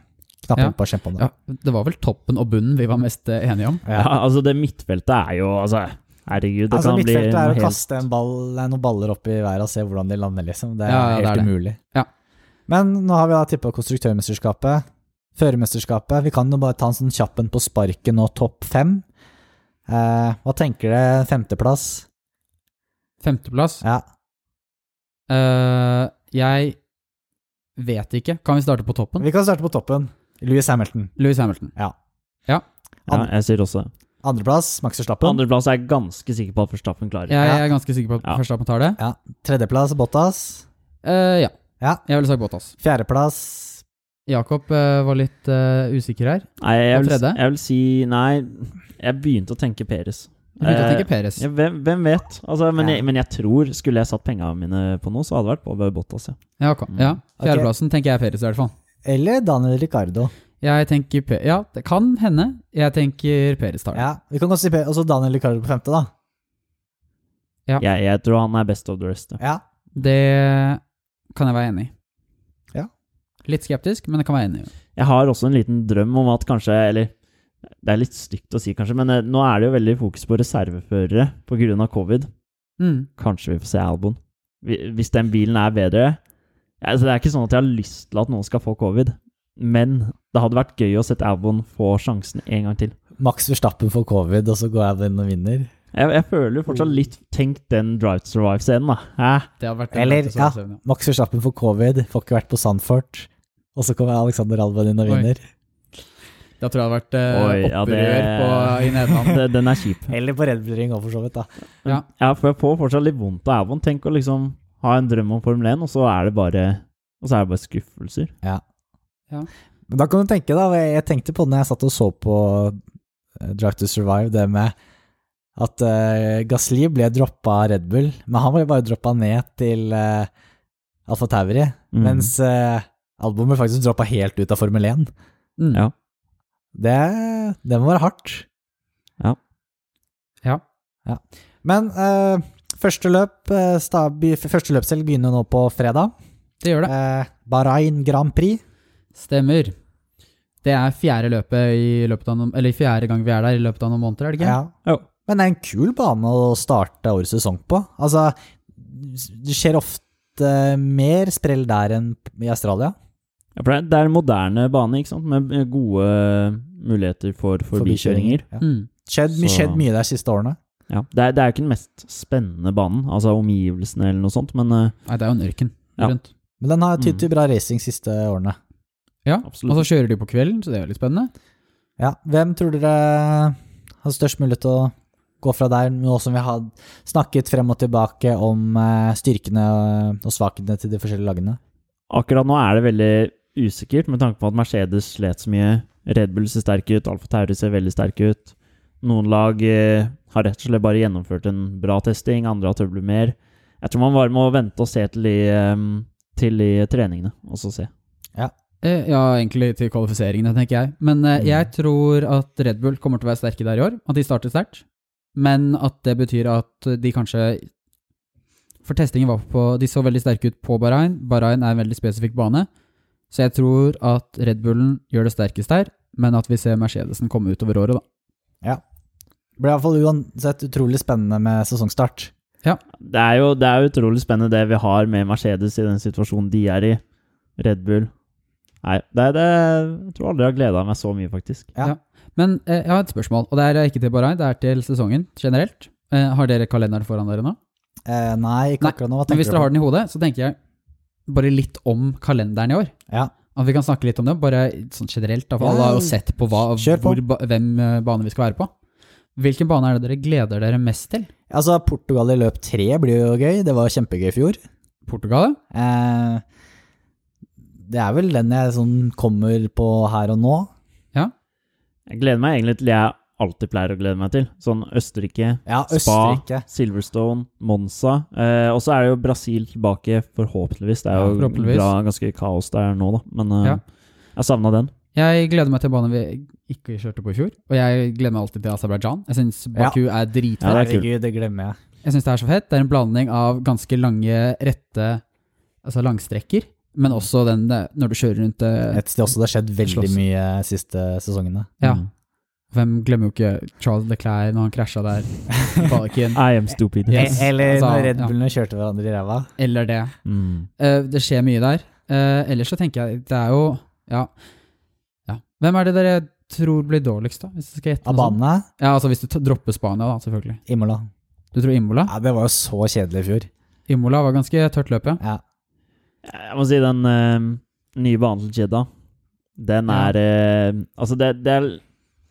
Speaker 1: knappe
Speaker 2: Ja.
Speaker 1: opp og kjempe om det.
Speaker 2: Ja, Det var vel toppen og bunnen vi var mest eh, enige om.
Speaker 3: Ja, altså, det midtfeltet er jo Altså, herregud, det
Speaker 1: altså,
Speaker 3: kan bli
Speaker 1: midtfeltet
Speaker 3: noe
Speaker 1: er å
Speaker 3: helt
Speaker 1: kaste en ball, nei, noen baller opp i været og se hvordan de lander, liksom. Det er
Speaker 2: Ja, ja, det
Speaker 1: helt
Speaker 2: er det.
Speaker 1: umulig.
Speaker 2: Ja.
Speaker 1: Men nå har vi da tippa konstruktørmesterskapet, førermesterskapet. Vi kan jo bare ta en sånn kjapp en på sparket nå, topp fem. Eh, hva tenker dere? Femteplass?
Speaker 2: Femteplass.
Speaker 1: Ja.
Speaker 2: Eh, jeg vet ikke. Kan vi starte på toppen?
Speaker 1: Vi kan starte på toppen. Louis Hamilton.
Speaker 2: Louis Hamilton.
Speaker 3: Ja, jeg sier også det.
Speaker 1: Andreplass, Max
Speaker 3: På
Speaker 1: Verstappen.
Speaker 3: andreplass er jeg ganske sikker på at Verstappen klarer.
Speaker 2: Jeg, jeg er ganske sikker på at
Speaker 3: Ja.
Speaker 2: Verstappen tar det.
Speaker 1: Tredjeplass, Bottas.
Speaker 2: Eh, ja.
Speaker 1: Ja.
Speaker 2: Jeg ville sagt Bottas.
Speaker 1: Fjerdeplass
Speaker 2: Jakob eh, var litt eh, usikker her.
Speaker 3: Nei, jeg
Speaker 2: Og
Speaker 3: vil,
Speaker 2: tredje?
Speaker 3: jeg vil si Nei, jeg begynte å tenke Peres.
Speaker 2: Jeg begynte å
Speaker 3: Eh,
Speaker 2: tenke Peres.
Speaker 3: Ja, hvem, hvem vet? Altså, men,
Speaker 1: Ja.
Speaker 3: jeg, men jeg tror, skulle jeg satt penga mine på noe, så hadde det vært på Bottas. Ja.
Speaker 2: Ja, ok. ja. Fjerdeplassen tenker jeg er Peres i hvert fall.
Speaker 1: eller Daniel Ricardo.
Speaker 2: Jeg tenker Pe Ja, det kan hende. Jeg tenker Peres tar det.
Speaker 1: Ja, vi kan godt si Pe- også Daniel Ricardo på femte, da.
Speaker 2: Ja.
Speaker 3: Jeg, jeg tror han er best of the rest. Ja.
Speaker 1: Ja.
Speaker 2: Det kan jeg være enig i.
Speaker 1: Ja.
Speaker 2: Litt skeptisk, men jeg kan være enig i. det.
Speaker 3: Jeg har også en liten drøm om at kanskje Eller det er litt stygt å si, kanskje, men eh, nå er det jo veldig fokus på reserveførere pga. covid.
Speaker 2: Mm.
Speaker 3: Kanskje vi får se Albon. Hvi- Hvis den bilen er bedre ja, altså, Det er ikke sånn at jeg har lyst til at noen skal få covid, men det hadde vært gøy å sette Albon få sjansen en gang til.
Speaker 1: Max Verstappen får covid, og så går jeg inn og vinner.
Speaker 3: Jeg, jeg føler fortsatt litt Tenk den Drive to Survive-scenen, da. Hæ?
Speaker 2: Det hadde vært
Speaker 1: Eller,
Speaker 2: en
Speaker 1: ja.
Speaker 2: sånn-
Speaker 1: Max Verstappen får covid, får ikke vært på Sandfort. Og så kommer Alexander Alban inn og
Speaker 2: Oi.
Speaker 1: vinner.
Speaker 2: Da tror jeg det hadde vært eh,
Speaker 3: Oi, ja,
Speaker 2: opprør
Speaker 3: det-
Speaker 2: på, i Nederland.
Speaker 3: Det- eh, Den er kjip.
Speaker 1: Eller på Red Bull Ring òg, for så vidt. da.
Speaker 3: Ja, for jeg får fortsatt litt vondt av Albon. Tenk å liksom ha en drøm om Formel 1, og så er det bare og så er det bare skuffelser.
Speaker 1: Men da kan du tenke, da. og Jeg jeg tenkte på det når jeg satt og så på eh, Drive to Survive, det med at uh, Gasli ble droppa av Red Bull, men han ble bare droppa ned til uh, Alfa Tauri.
Speaker 3: Mm.
Speaker 1: Mens eh, albumet faktisk droppa helt ut av Formel 1.
Speaker 2: Mm.
Speaker 3: Ja.
Speaker 1: Det, det må være hardt.
Speaker 2: Ja.
Speaker 1: Men eh, første løp eh, sta- by- Første løpshelg begynner nå på fredag.
Speaker 2: Det gjør det.
Speaker 1: Eh, Bahrain Grand Prix.
Speaker 2: Stemmer. Det er fjerde løpet i løpet av noen, eller fjerde gang vi er der i løpet av noen måneder, er det ikke?
Speaker 1: Ja.
Speaker 3: Jo.
Speaker 1: Men det er en kul bane å starte årets sesong på. Altså, det skjer ofte mer sprell der enn i Australia.
Speaker 3: Ja, for det er- det er en moderne bane, ikke sant, med med gode muligheter for forbikjøringer.
Speaker 1: Ja.
Speaker 2: Mm.
Speaker 1: Skjedd, my-
Speaker 3: Så-
Speaker 1: skjedd mye der siste årene.
Speaker 3: Ja. Det, er, det er jo ikke den mest spennende banen, altså omgivelsene eller noe sånt, men eh,
Speaker 2: Nei, det er jo en ørken
Speaker 3: Ja.
Speaker 2: rundt.
Speaker 1: Men den har
Speaker 3: Mm.
Speaker 1: tydd til bra racing siste årene.
Speaker 2: Ja,
Speaker 3: Absolutt.
Speaker 2: Og så kjører de på kvelden, så det er jo litt spennende.
Speaker 1: Ja, hvem tror dere har størst mulighet til å gå fra der, nå som vi har snakket frem og tilbake om eh, styrkene og svakhetene til de forskjellige lagene?
Speaker 3: akkurat nå er det veldig usikkert, med tanke på at Mercedes slet så mye. Red Bull ser sterk ut, Alfa Tauri ser veldig sterk ut. Noen lag eh, har rett og slett bare gjennomført en bra testing, andre har tøvler mer. Jeg tror man bare må vente og se til i, eh, til i treningene, og så se.
Speaker 2: Eh, ja, egentlig til kvalifiseringene, tenker jeg. Men eh, jeg tror at Red Bull kommer til å være sterke der i år. At de starter sterkt. Men at det betyr at de kanskje For testingen var på De så veldig sterke ut på Bahrain. Bahrain er en veldig spesifikk bane. Så jeg tror at Red Bullen gjør det sterkest der, men at vi ser Mercedesen komme utover året, da.
Speaker 1: Det blir iallfall uansett utrolig spennende med sesongstart.
Speaker 3: Det er, jo, det er jo utrolig spennende det vi har med Mercedes i den situasjonen de er i. Red Bull Nei, det, det, jeg tror aldri jeg har gleda meg så mye, faktisk.
Speaker 2: Men eh, jeg har et spørsmål, og det er ikke til Bahrain, det er til sesongen generelt. Eh, har dere kalenderen foran dere nå?
Speaker 1: Eh, nei, ikke
Speaker 2: Nei,
Speaker 1: akkurat nå. Hva
Speaker 2: Men
Speaker 1: tenker
Speaker 2: hvis dere har den i hodet, så tenker jeg bare litt om kalenderen i år.
Speaker 1: Ja.
Speaker 2: At vi kan snakke litt om det, bare sånn generelt. Da, for
Speaker 1: Ja,
Speaker 2: alle har jo sett på, hva,
Speaker 1: kjør på.
Speaker 2: Hvor, ba- hvem eh, bane vi skal være på. Hvilken bane er det dere gleder dere mest til?
Speaker 1: Altså, Portugal i løp tre blir jo gøy. Det var kjempegøy i fjor.
Speaker 2: Portugal? ja?
Speaker 1: Eh, det er vel den jeg sånn kommer på her og nå.
Speaker 3: Jeg gleder meg egentlig til det jeg alltid pleier å glede meg til. Sånn Østerrike,
Speaker 1: Ja,
Speaker 3: Spa,
Speaker 1: Østerrike.
Speaker 3: Silverstone, Monza. Eh, og så er det jo Brasil tilbake, forhåpentligvis. Det er
Speaker 2: Ja,
Speaker 3: jo
Speaker 2: forhåpentligvis.
Speaker 3: Bra, ganske kaos der nå, da. Men eh,
Speaker 2: Ja.
Speaker 3: jeg savna den.
Speaker 2: Jeg gleder meg til banen vi ikke kjørte på i fjor. Og jeg gleder meg alltid til Aserbajdsjan. Jeg syns Baku er
Speaker 3: Ja,
Speaker 2: dritfett.
Speaker 3: det er kult.
Speaker 1: Herregud, det glemmer jeg.
Speaker 2: Jeg syns det er så fett. Det er en blanding av ganske lange, rette altså langstrekker, men også den eh, når du kjører rundt eh,
Speaker 1: Mm. Et sted også det har skjedd veldig
Speaker 2: Slåss.
Speaker 1: mye siste sesongene.
Speaker 2: Ja.
Speaker 3: Mm.
Speaker 2: Hvem glemmer jo ikke Charles Leclerc når han krasja der? Balken.
Speaker 3: I am stupid.
Speaker 2: Yes.
Speaker 1: E- Eller
Speaker 2: altså,
Speaker 1: når Red
Speaker 2: ja.
Speaker 1: Bullene kjørte hverandre i ræva.
Speaker 2: Eller det.
Speaker 3: Mm.
Speaker 2: Eh, det skjer mye der. Eh, ellers så tenker jeg det er jo ja. ja. Hvem er det dere tror blir dårligst, da? Hvis du skal gjette
Speaker 1: Av
Speaker 2: noe sånt?
Speaker 1: banene,
Speaker 2: Ja, altså hvis du t- dropper Spania, da, selvfølgelig.
Speaker 1: Imola.
Speaker 2: Du tror Imola?
Speaker 1: Ja, det var jo så kjedelig i fjor.
Speaker 2: Imola var ganske tørt løp, ja.
Speaker 1: Ja.
Speaker 3: Jeg må si den eh, nye banen til Jedda. Den
Speaker 2: Ja.
Speaker 3: er eh, Altså, det, det er,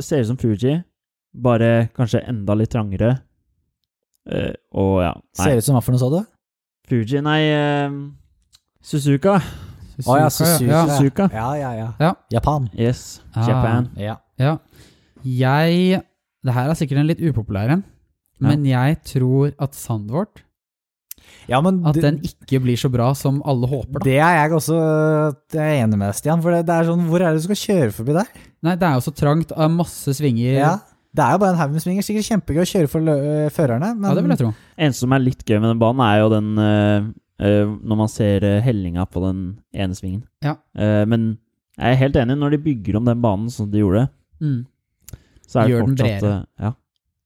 Speaker 3: ser ut som Fuji, bare kanskje enda litt trangere. Eh, og ja. Nei,
Speaker 1: Ser ut som hva for noe, sa du?
Speaker 3: Fuji Nei, eh, Suzuka.
Speaker 2: Suzuka,
Speaker 1: Å ja, Suzuka.
Speaker 2: ja.
Speaker 3: Suzuka.
Speaker 1: Ja, ja, ja.
Speaker 2: Ja.
Speaker 1: Japan.
Speaker 3: Yes.
Speaker 2: Ah.
Speaker 3: Japan.
Speaker 1: Ja.
Speaker 2: Ja. Jeg Det her er sikkert en litt upopulær en, men jeg tror at Sandvort
Speaker 1: ja, men
Speaker 2: At
Speaker 1: det-
Speaker 2: den ikke blir så bra som alle håper, da.
Speaker 1: Det er jeg også jeg er enig med deg, Stian. For det, det er sånn, hvor er det du skal kjøre forbi der?
Speaker 2: Nei, det er jo så trangt, av masse svinger.
Speaker 1: Ja. Det er jo bare en haug med svinger. Sikkert kjempegøy å kjøre for lø øh, førerne, men
Speaker 2: ja, det vil jeg tro.
Speaker 3: Eneste som er litt gøy med den banen, er jo den eh, eh, Når man ser eh, hellinga på den ene svingen.
Speaker 2: Ja.
Speaker 3: Eh, men jeg er helt enig, når de bygger om den banen som de gjorde,
Speaker 2: Mm.
Speaker 3: så er det
Speaker 2: Gjør den
Speaker 3: fortsatt
Speaker 2: bredere.
Speaker 3: eh, ja,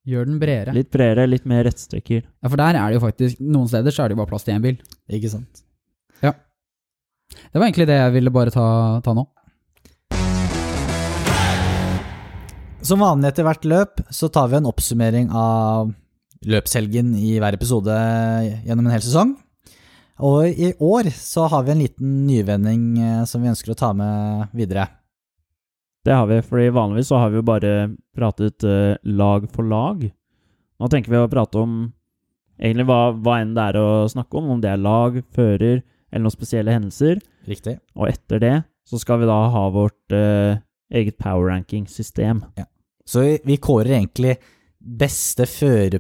Speaker 2: Gjør den bredere.
Speaker 3: litt bredere, litt mer rettstykker.
Speaker 2: Ja, for der er det jo faktisk Noen steder så er det jo bare plass til én bil.
Speaker 1: Ikke sant.
Speaker 2: Det var egentlig det jeg ville bare ta, ta nå.
Speaker 1: Som vanlig etter hvert løp så tar vi en oppsummering av løpshelgen i hver episode gjennom en hel sesong. Og i år så har vi en liten nyvending eh, som vi ønsker å ta med videre.
Speaker 3: Det har vi, fordi vanligvis så har vi jo bare pratet eh, lag for lag. Nå tenker vi å prate om egentlig hva, hva enn det er å snakke om, om det er lag, fører eller noen spesielle hendelser.
Speaker 1: Riktig.
Speaker 3: Og etter det så skal vi da ha vårt eh, eget power ranking-system.
Speaker 1: Så vi, vi kårer egentlig beste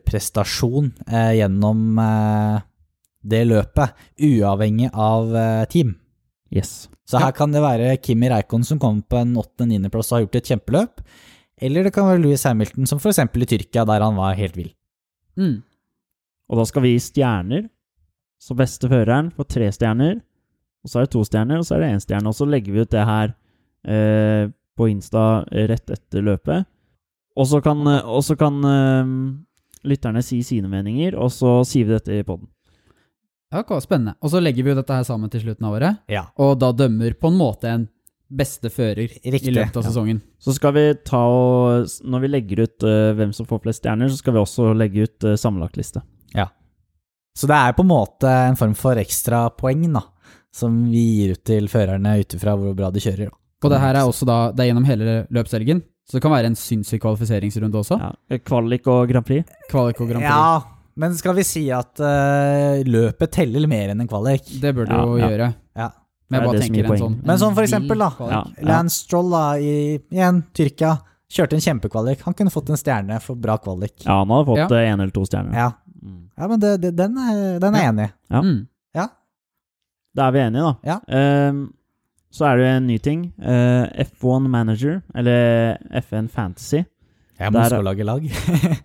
Speaker 1: førerprestasjon eh, gjennom eh, det løpet, uavhengig av eh, team.
Speaker 3: Yes.
Speaker 1: Så her kan det være Kimi Reikon som kommer på en 8.-9.-plass og har gjort et kjempeløp. Eller det kan være Louis Hamilton, som f.eks. i Tyrkia, der han var helt vill.
Speaker 2: Mm.
Speaker 3: Og da skal vi gi stjerner. Så beste føreren får tre stjerner. Og så er det to stjerner, og så er det én stjerne. Og så legger vi ut det her eh, på Insta rett etter løpet. Og så kan, og så kan eh, lytterne si sine meninger, og så sier vi dette i poden.
Speaker 2: Ja, ok, spennende. Og så legger vi jo dette her sammen til slutten av året,
Speaker 1: Ja.
Speaker 2: og da dømmer på en måte en beste fører
Speaker 1: Riktig,
Speaker 2: i løpet av
Speaker 1: ja.
Speaker 2: sesongen.
Speaker 3: Så skal vi ta og Når vi legger ut eh, hvem som får flest stjerner, så skal vi også legge ut eh, sammenlagtliste.
Speaker 1: Så det er på en måte en form for ekstrapoeng, da. Som vi gir ut til førerne ut ifra hvor bra de kjører. da.
Speaker 2: Og det her er også da, det er gjennom hele løpshelgen, så det kan være en sinnssyk kvalifiseringsrunde også.
Speaker 3: Ja. Kvalik og Grand Prix.
Speaker 2: Kvalik og Grand Prix.
Speaker 1: Ja, men skal vi si at eh, løpet teller mer enn en kvalik?
Speaker 2: Det bør du
Speaker 3: Ja,
Speaker 2: jo
Speaker 3: ja.
Speaker 2: gjøre.
Speaker 1: Ja.
Speaker 2: Men
Speaker 3: Det er
Speaker 2: jeg bare
Speaker 3: det som gir
Speaker 2: tenker en
Speaker 3: poeng.
Speaker 2: sånn
Speaker 1: Men
Speaker 2: en
Speaker 1: sånn for
Speaker 2: vill
Speaker 1: eksempel, da.
Speaker 2: kvalik.
Speaker 3: Ja, ja.
Speaker 1: Lance Stroll, da, i igjen Tyrkia, kjørte en kjempekvalik. Han kunne fått en stjerne for bra kvalik.
Speaker 3: ja, han hadde fått
Speaker 2: Ja.
Speaker 3: én eller to stjerner.
Speaker 1: Ja,
Speaker 3: Mm.
Speaker 1: ja men det, det, den er den er jeg enig i.
Speaker 3: Ja.
Speaker 2: Mm.
Speaker 3: Da er vi enige, da.
Speaker 1: Ja.
Speaker 3: Ehm, så er det en ny ting. Eh, F1 Manager, eller FN Fantasy.
Speaker 1: Jeg
Speaker 3: må
Speaker 1: må
Speaker 3: Der- også
Speaker 1: lage lag.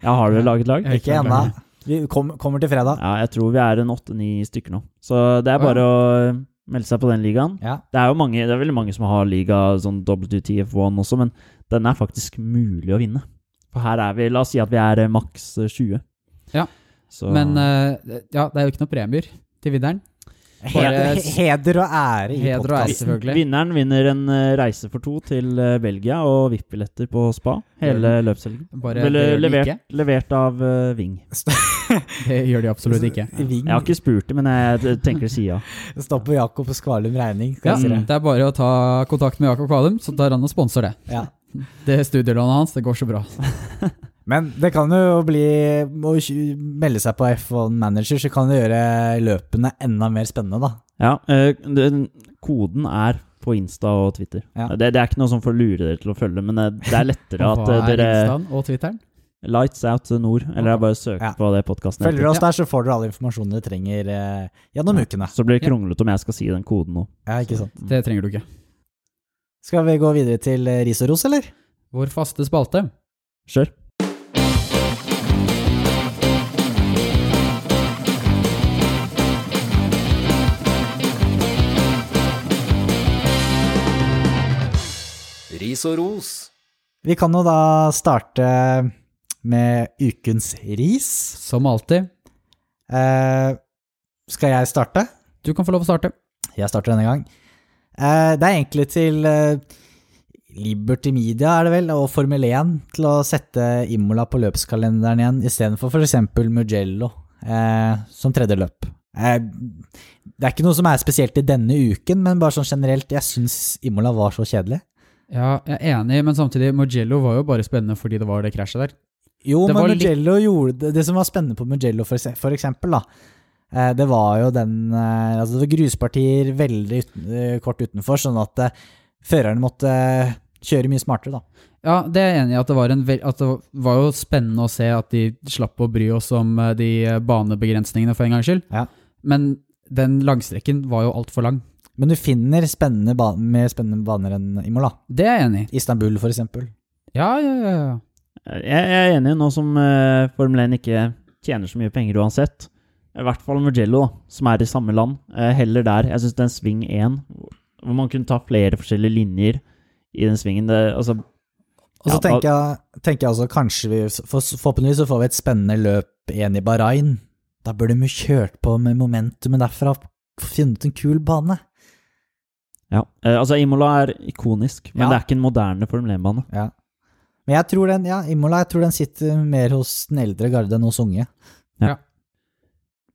Speaker 3: Ja, har dere laget lag?
Speaker 2: Jeg-
Speaker 1: Ikke ennå. Vi kom, kommer til fredag.
Speaker 3: Ja, jeg tror vi er en åtte-ni stykker nå. Så det er bare å eh, melde seg på den ligaen.
Speaker 1: Ja.
Speaker 3: Det er jo mange, det er veldig mange som har liga sånn WTF1 også, men den er faktisk mulig å vinne. For her er vi, la oss si at vi er eh, maks eh, 20.
Speaker 2: Ja.
Speaker 3: Så,
Speaker 2: Men eh, ja, det er jo ikke noen premier til vinneren.
Speaker 1: Heder,
Speaker 2: Bare-
Speaker 1: he- heder og ære i
Speaker 2: Heder og ære,
Speaker 1: podkasten.
Speaker 2: selvfølgelig.
Speaker 3: Vinneren vinner en eh, reise for to til eh, Belgia og VIP-billetter på spa hele løpshelgen.
Speaker 2: Bare,
Speaker 3: Ble
Speaker 2: det gjør de
Speaker 3: levert,
Speaker 2: ikke.
Speaker 3: levert av eh, Ving.
Speaker 2: Det gjør de absolutt ikke.
Speaker 1: Ving
Speaker 3: Jeg har ikke spurt det, men jeg t- tenker sida.
Speaker 1: stopper Jakob og Skvalum regning.
Speaker 2: Ja,
Speaker 1: Skal jeg si det.
Speaker 2: det er bare å ta kontakt med Jakob Kvalum, så tar han og sponser det.
Speaker 1: Ja.
Speaker 2: Det studielånet hans, det går så bra.
Speaker 1: Men det kan jo bli Å kj- melde seg på F1 Manager, så kan det gjøre løpene enda mer spennende, da.
Speaker 3: Ja, eh, den, koden er på Insta og Twitter.
Speaker 1: Ja.
Speaker 3: Det, det er ikke noe som får lure dere til å følge, men eh, det er lettere
Speaker 2: Hva
Speaker 3: at eh,
Speaker 2: er
Speaker 3: dere
Speaker 2: Instaen og Twitteren?
Speaker 3: Lights Out Nord, eller det er bare å søke
Speaker 1: Ja.
Speaker 3: på det podkasten.
Speaker 1: Følger du oss der, så får dere all informasjonen dere trenger eh, gjennom ukene.
Speaker 3: Så blir det
Speaker 2: Ja.
Speaker 3: kronglete om jeg skal si den koden nå.
Speaker 1: Ja, ikke sant.
Speaker 2: Det trenger du ikke.
Speaker 1: Skal vi gå videre til eh, ris og ros, eller?
Speaker 2: Vår faste spalte.
Speaker 3: Kjør.
Speaker 4: Ris og ros.
Speaker 1: Vi kan jo da starte med ukens ris.
Speaker 2: Som alltid.
Speaker 1: Eh, skal jeg starte?
Speaker 2: Du kan få lov å starte.
Speaker 1: Jeg starter denne gang. Eh, det er egentlig til eh, Liberty Media, er det vel, og Formel 1 til å sette Imola på løpskalenderen igjen, istedenfor f.eks. Mugello eh, som tredje løp. Eh, det er ikke noe som er spesielt i denne uken, men bare sånn generelt, jeg syns Imola var så kjedelig.
Speaker 2: Ja, jeg er enig, men samtidig, Mugello var jo bare spennende fordi det var det krasjet der.
Speaker 1: Jo,
Speaker 2: Det
Speaker 1: men
Speaker 2: var litt-
Speaker 1: Mugello gjorde det, det som var spennende på Mugello, for, ekse- for eksempel, da, eh, det var jo den eh, Altså, det var gruspartier veldig uten, eh, kort utenfor, sånn at eh, førerne måtte eh, kjøre mye smartere, da.
Speaker 2: Ja, det er jeg enig i. At det, var en vel, at det var jo spennende å se at de slapp å bry oss om eh, de eh, banebegrensningene for en gangs skyld.
Speaker 1: Ja.
Speaker 2: Men den langstrekken var jo altfor lang.
Speaker 1: Men du finner spennende ba mer spennende baner enn Imola.
Speaker 2: Det er jeg enig i.
Speaker 1: Istanbul, for eksempel.
Speaker 2: Ja, ja, ja. ja.
Speaker 3: Jeg, jeg er enig, nå som eh, Formel 1 ikke tjener så mye penger uansett. I hvert fall Mugello, da, som er i samme land. eh, heller der. Jeg syns den sving 1, hvor man kunne ta flere forskjellige linjer i den svingen det, altså,
Speaker 1: Og så
Speaker 3: Ja,
Speaker 1: tenker, jeg, tenker jeg også kanskje vi for, Forhåpentligvis så får vi et spennende løp igjen i Bahrain. Da burde vi kjørt på med momentumet derfra. Funnet en kul bane.
Speaker 3: ja. Eh, altså, Imola er ikonisk, men
Speaker 1: Ja.
Speaker 3: det er ikke en moderne Formel 1-bane.
Speaker 1: Ja. Men jeg tror den, ja, Imola, jeg tror den sitter mer hos den eldre garde enn hos unge.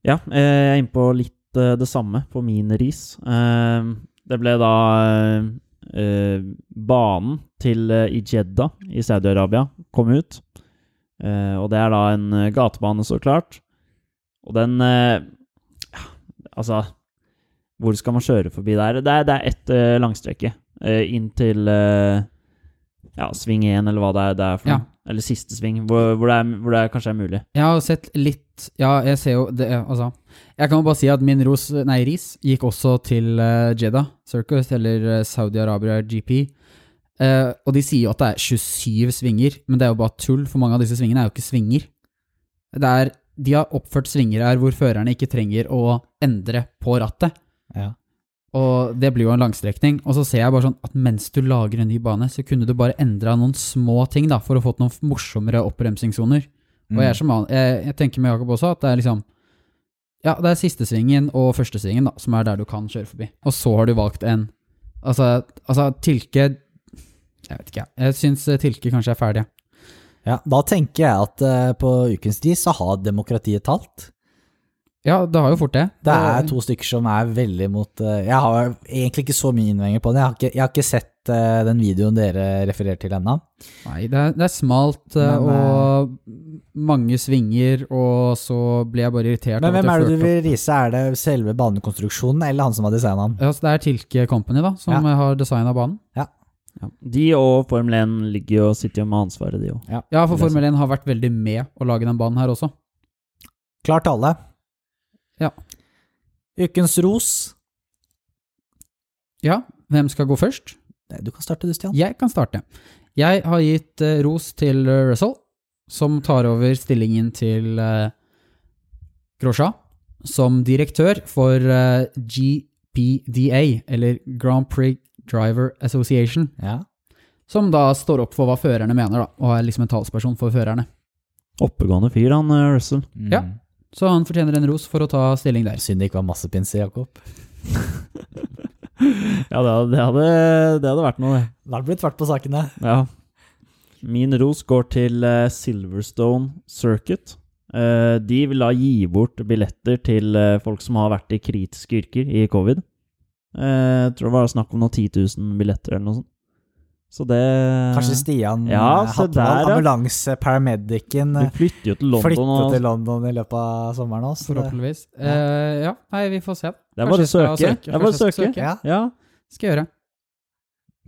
Speaker 3: Ja, eh, jeg er inne på litt eh, det samme på min ris. Eh, det ble da eh, eh, banen til eh, i Jeddah i Saudi-Arabia kom ut. Eh, og det er da en eh, gatebane, så klart. Og den eh, ja, Altså, hvor skal man kjøre forbi der? Det er, det er ett eh, langstrekke eh, inn til eh, ja, sving én, eller hva det er. Det er for
Speaker 2: Ja.
Speaker 3: noe. Eller siste sving, hvor, hvor, det er, hvor det er, kanskje er mulig.
Speaker 2: Jeg har sett litt Ja, jeg ser jo det, ja, Altså, jeg kan jo bare si at min ros, nei, ris gikk også til eh, Jeddah Circus, eller eh, Saudi-Arabia GP. Eh, og de sier jo at det er 27 svinger, men det er jo bare tull, for mange av disse svingene er jo ikke svinger. Det er De har oppført svinger her hvor førerne ikke trenger å endre på rattet.
Speaker 1: Ja.
Speaker 2: Og det blir jo en langstrekning. Og så ser jeg bare sånn at mens du lager en ny bane, så kunne du bare endra noen små ting, da, for å fått noen morsommere oppremsingssoner.
Speaker 1: Mm.
Speaker 2: Og jeg, er som, han- jeg, jeg tenker med Jakob også at det er liksom Ja, det er siste svingen og første svingen da, som er der du kan kjøre forbi. Og så har du valgt en Altså, altså Tilke Jeg vet ikke, jeg. Jeg syns eh, Tilke kanskje er ferdig.
Speaker 1: Ja, da tenker jeg at eh, på ukens tid så har demokratiet talt.
Speaker 2: Ja, det har jo fort det.
Speaker 1: Det er to stykker som er veldig mot eh, Jeg har egentlig ikke så mye innvendinger på det. Jeg har ikke, jeg har ikke sett eh, den videoen dere refererer til ennå.
Speaker 2: Nei, det er, det er smalt eh,
Speaker 1: Men,
Speaker 2: og mange svinger, og så ble jeg bare irritert.
Speaker 1: Men
Speaker 2: over at
Speaker 1: hvem
Speaker 2: jeg
Speaker 1: er det du
Speaker 2: førte opp-
Speaker 1: vil rise? Er det selve banekonstruksjonen eller han som har designa den?
Speaker 2: Ja, så Det er Tilke Company da, som
Speaker 1: Ja.
Speaker 2: eh, har designa banen.
Speaker 3: Ja. De og Formel 1 ligger jo og sitter jo med ansvaret, de òg.
Speaker 2: Ja, for
Speaker 1: Det er sant.
Speaker 2: Formel 1 har vært veldig med å lage den banen her også.
Speaker 1: Klar tale.
Speaker 2: Ja.
Speaker 1: Ukens ros.
Speaker 2: Ja, hvem skal gå først?
Speaker 1: Nei, Du kan starte du, Stian.
Speaker 2: Jeg kan starte. Jeg har gitt eh, ros til eh, Russell, som tar over stillingen til uh, Grosja som direktør for eh, GPDA, eller Grand Prix Driver Association,
Speaker 1: Ja.
Speaker 2: som da står opp for hva førerne mener, da, og er liksom en talsperson for førerne.
Speaker 3: Oppegående fyr, han eh, Russell.
Speaker 1: Mm.
Speaker 2: Ja. Så han fortjener en ros for å ta stilling der.
Speaker 1: Synd det ikke var masse pinse, Jakob.
Speaker 3: Ja, det hadde, det hadde, det hadde vært noe, det.
Speaker 1: Da har det blitt fart på sakene.
Speaker 3: Ja. Min ros går til eh, Silverstone Circuit. Eh, de vil da gi bort billetter til eh, folk som har vært i kritiske yrker i covid. Eh, jeg tror det var snakk om noen 10 000 billetter eller noe sånt. Så det
Speaker 1: Kanskje Stian
Speaker 3: Ja,
Speaker 1: eh,
Speaker 3: se
Speaker 1: Hattevall,
Speaker 3: der, ja.
Speaker 1: ambulanseparamedicen,
Speaker 3: Du flytter jo til London
Speaker 1: eh, flyttet
Speaker 3: og
Speaker 1: til London i løpet av sommeren også. så det-
Speaker 2: Forhåpentligvis. Eh, ja, nei, vi får se.
Speaker 3: Det er
Speaker 2: Kanskje
Speaker 3: bare å
Speaker 2: jeg skal
Speaker 3: søke.
Speaker 2: søke.
Speaker 3: Det er bare å
Speaker 2: Kanskje jeg skal
Speaker 3: søke.
Speaker 2: søke.
Speaker 1: Ja.
Speaker 3: Ja.
Speaker 2: Skal jeg gjøre.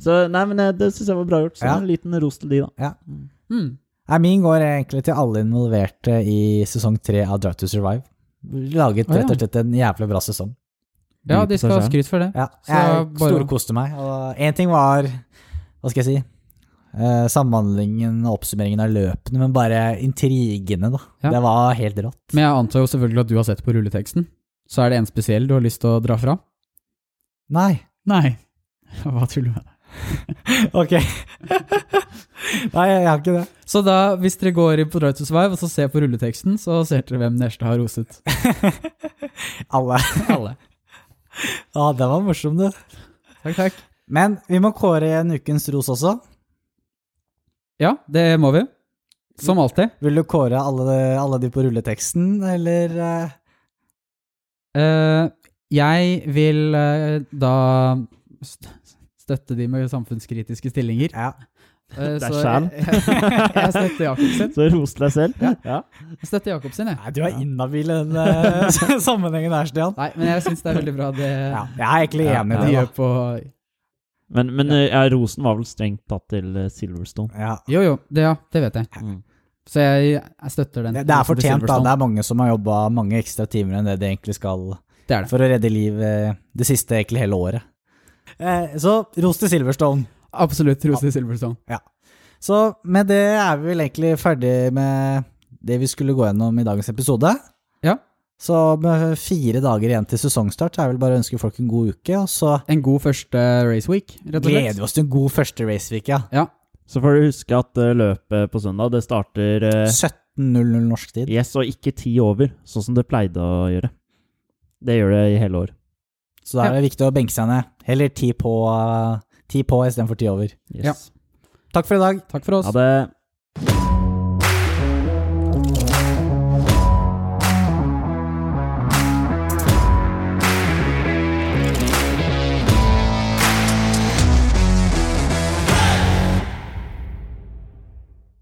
Speaker 3: Så nei, men eh, det syns jeg var bra gjort. Så
Speaker 1: Ja.
Speaker 3: en liten ros til de, da.
Speaker 2: Mm.
Speaker 1: Nei, min går egentlig til alle involverte i sesong tre av Drive to Survive. Laget
Speaker 2: Å, ja.
Speaker 1: rett og slett en jævlig bra sesong.
Speaker 2: Ja,
Speaker 3: By på
Speaker 2: de skal
Speaker 3: seg
Speaker 2: ha
Speaker 3: selv.
Speaker 2: skryt for det.
Speaker 1: Ja,
Speaker 2: Så
Speaker 1: jeg
Speaker 2: bare-
Speaker 1: storkoste meg. Og én ting var Hva skal jeg si? eh, samhandlingen og oppsummeringen av løpene, men bare intrigene, da.
Speaker 2: Ja.
Speaker 1: Det var helt rått.
Speaker 2: Men jeg antar jo selvfølgelig at du har sett på rulleteksten. Så er det en spesiell du har lyst til å dra fra?
Speaker 1: Nei.
Speaker 2: Nei. Hva tuller du med?
Speaker 1: Ok. Nei, jeg har ikke det.
Speaker 2: Så da, hvis dere går inn på Drive to Survive og så ser på rulleteksten, så ser dere hvem neste har roset.
Speaker 1: Alle.
Speaker 2: Alle.
Speaker 1: Ja, det var morsomt, du.
Speaker 2: Takk, takk.
Speaker 1: Men vi må kåre en ukens ros også.
Speaker 2: Ja, det må vi. Som alltid.
Speaker 1: Vil du kåre alle, alle de på rulleteksten, eller eh,
Speaker 2: Eh, jeg vil eh, da st- støtte de med samfunnskritiske stillinger.
Speaker 1: Ja.
Speaker 2: Eh,
Speaker 3: Det er
Speaker 2: så
Speaker 3: skjæren.
Speaker 2: jeg, jeg, jeg støtter Jakobsen.
Speaker 3: Så ros til deg selv. Ja.
Speaker 2: Jeg støtter Jakobsen, jeg.
Speaker 1: Nei, du er inhabil i den eh, sammenhengen her, Stian.
Speaker 2: Nei, men jeg syns det er veldig bra det
Speaker 1: Ja, jeg er egentlig
Speaker 3: Ja,
Speaker 1: enig
Speaker 2: de
Speaker 1: i det.
Speaker 2: gjør på
Speaker 3: Men, men eh, ja, rosen var vel strengt tatt til eh, Silverstone.
Speaker 1: da. Ja.
Speaker 2: Jo, jo, det, ja, det vet jeg.
Speaker 3: Mm.
Speaker 2: Så jeg, jeg støtter den.
Speaker 1: Det, det er
Speaker 2: Rosen til
Speaker 1: fortjent, da.
Speaker 2: Silverstone.
Speaker 1: Det er mange som har jobba mange ekstra timer enn det de egentlig skal
Speaker 2: Det er det.
Speaker 1: for å redde liv eh, det siste egentlig hele året. Eh, så ros til Silverstone.
Speaker 2: Absolutt ros til Silverstone.
Speaker 1: Så med det er vi vel egentlig ferdig med det vi skulle gå gjennom i dagens episode.
Speaker 2: Ja.
Speaker 1: Så med fire dager igjen til sesongstart så er det vel bare å ønske folk en god uke, og så
Speaker 2: En god første race week, rett og
Speaker 1: gleder
Speaker 2: slett.
Speaker 1: vi oss til en god første raceweek, ja.
Speaker 2: Ja.
Speaker 3: Så får du huske at eh, løpet på søndag, det starter eh,
Speaker 1: 17.00 norsk tid.
Speaker 3: Yes, og ikke ti over, sånn som det pleide å gjøre. Det gjør det i hele år.
Speaker 1: Så da er det viktig å benke seg ned. Heller ti på, eh, ti på istedenfor ti over.
Speaker 3: Yes.
Speaker 1: Takk for i dag.
Speaker 2: Takk for oss.
Speaker 3: Ha det.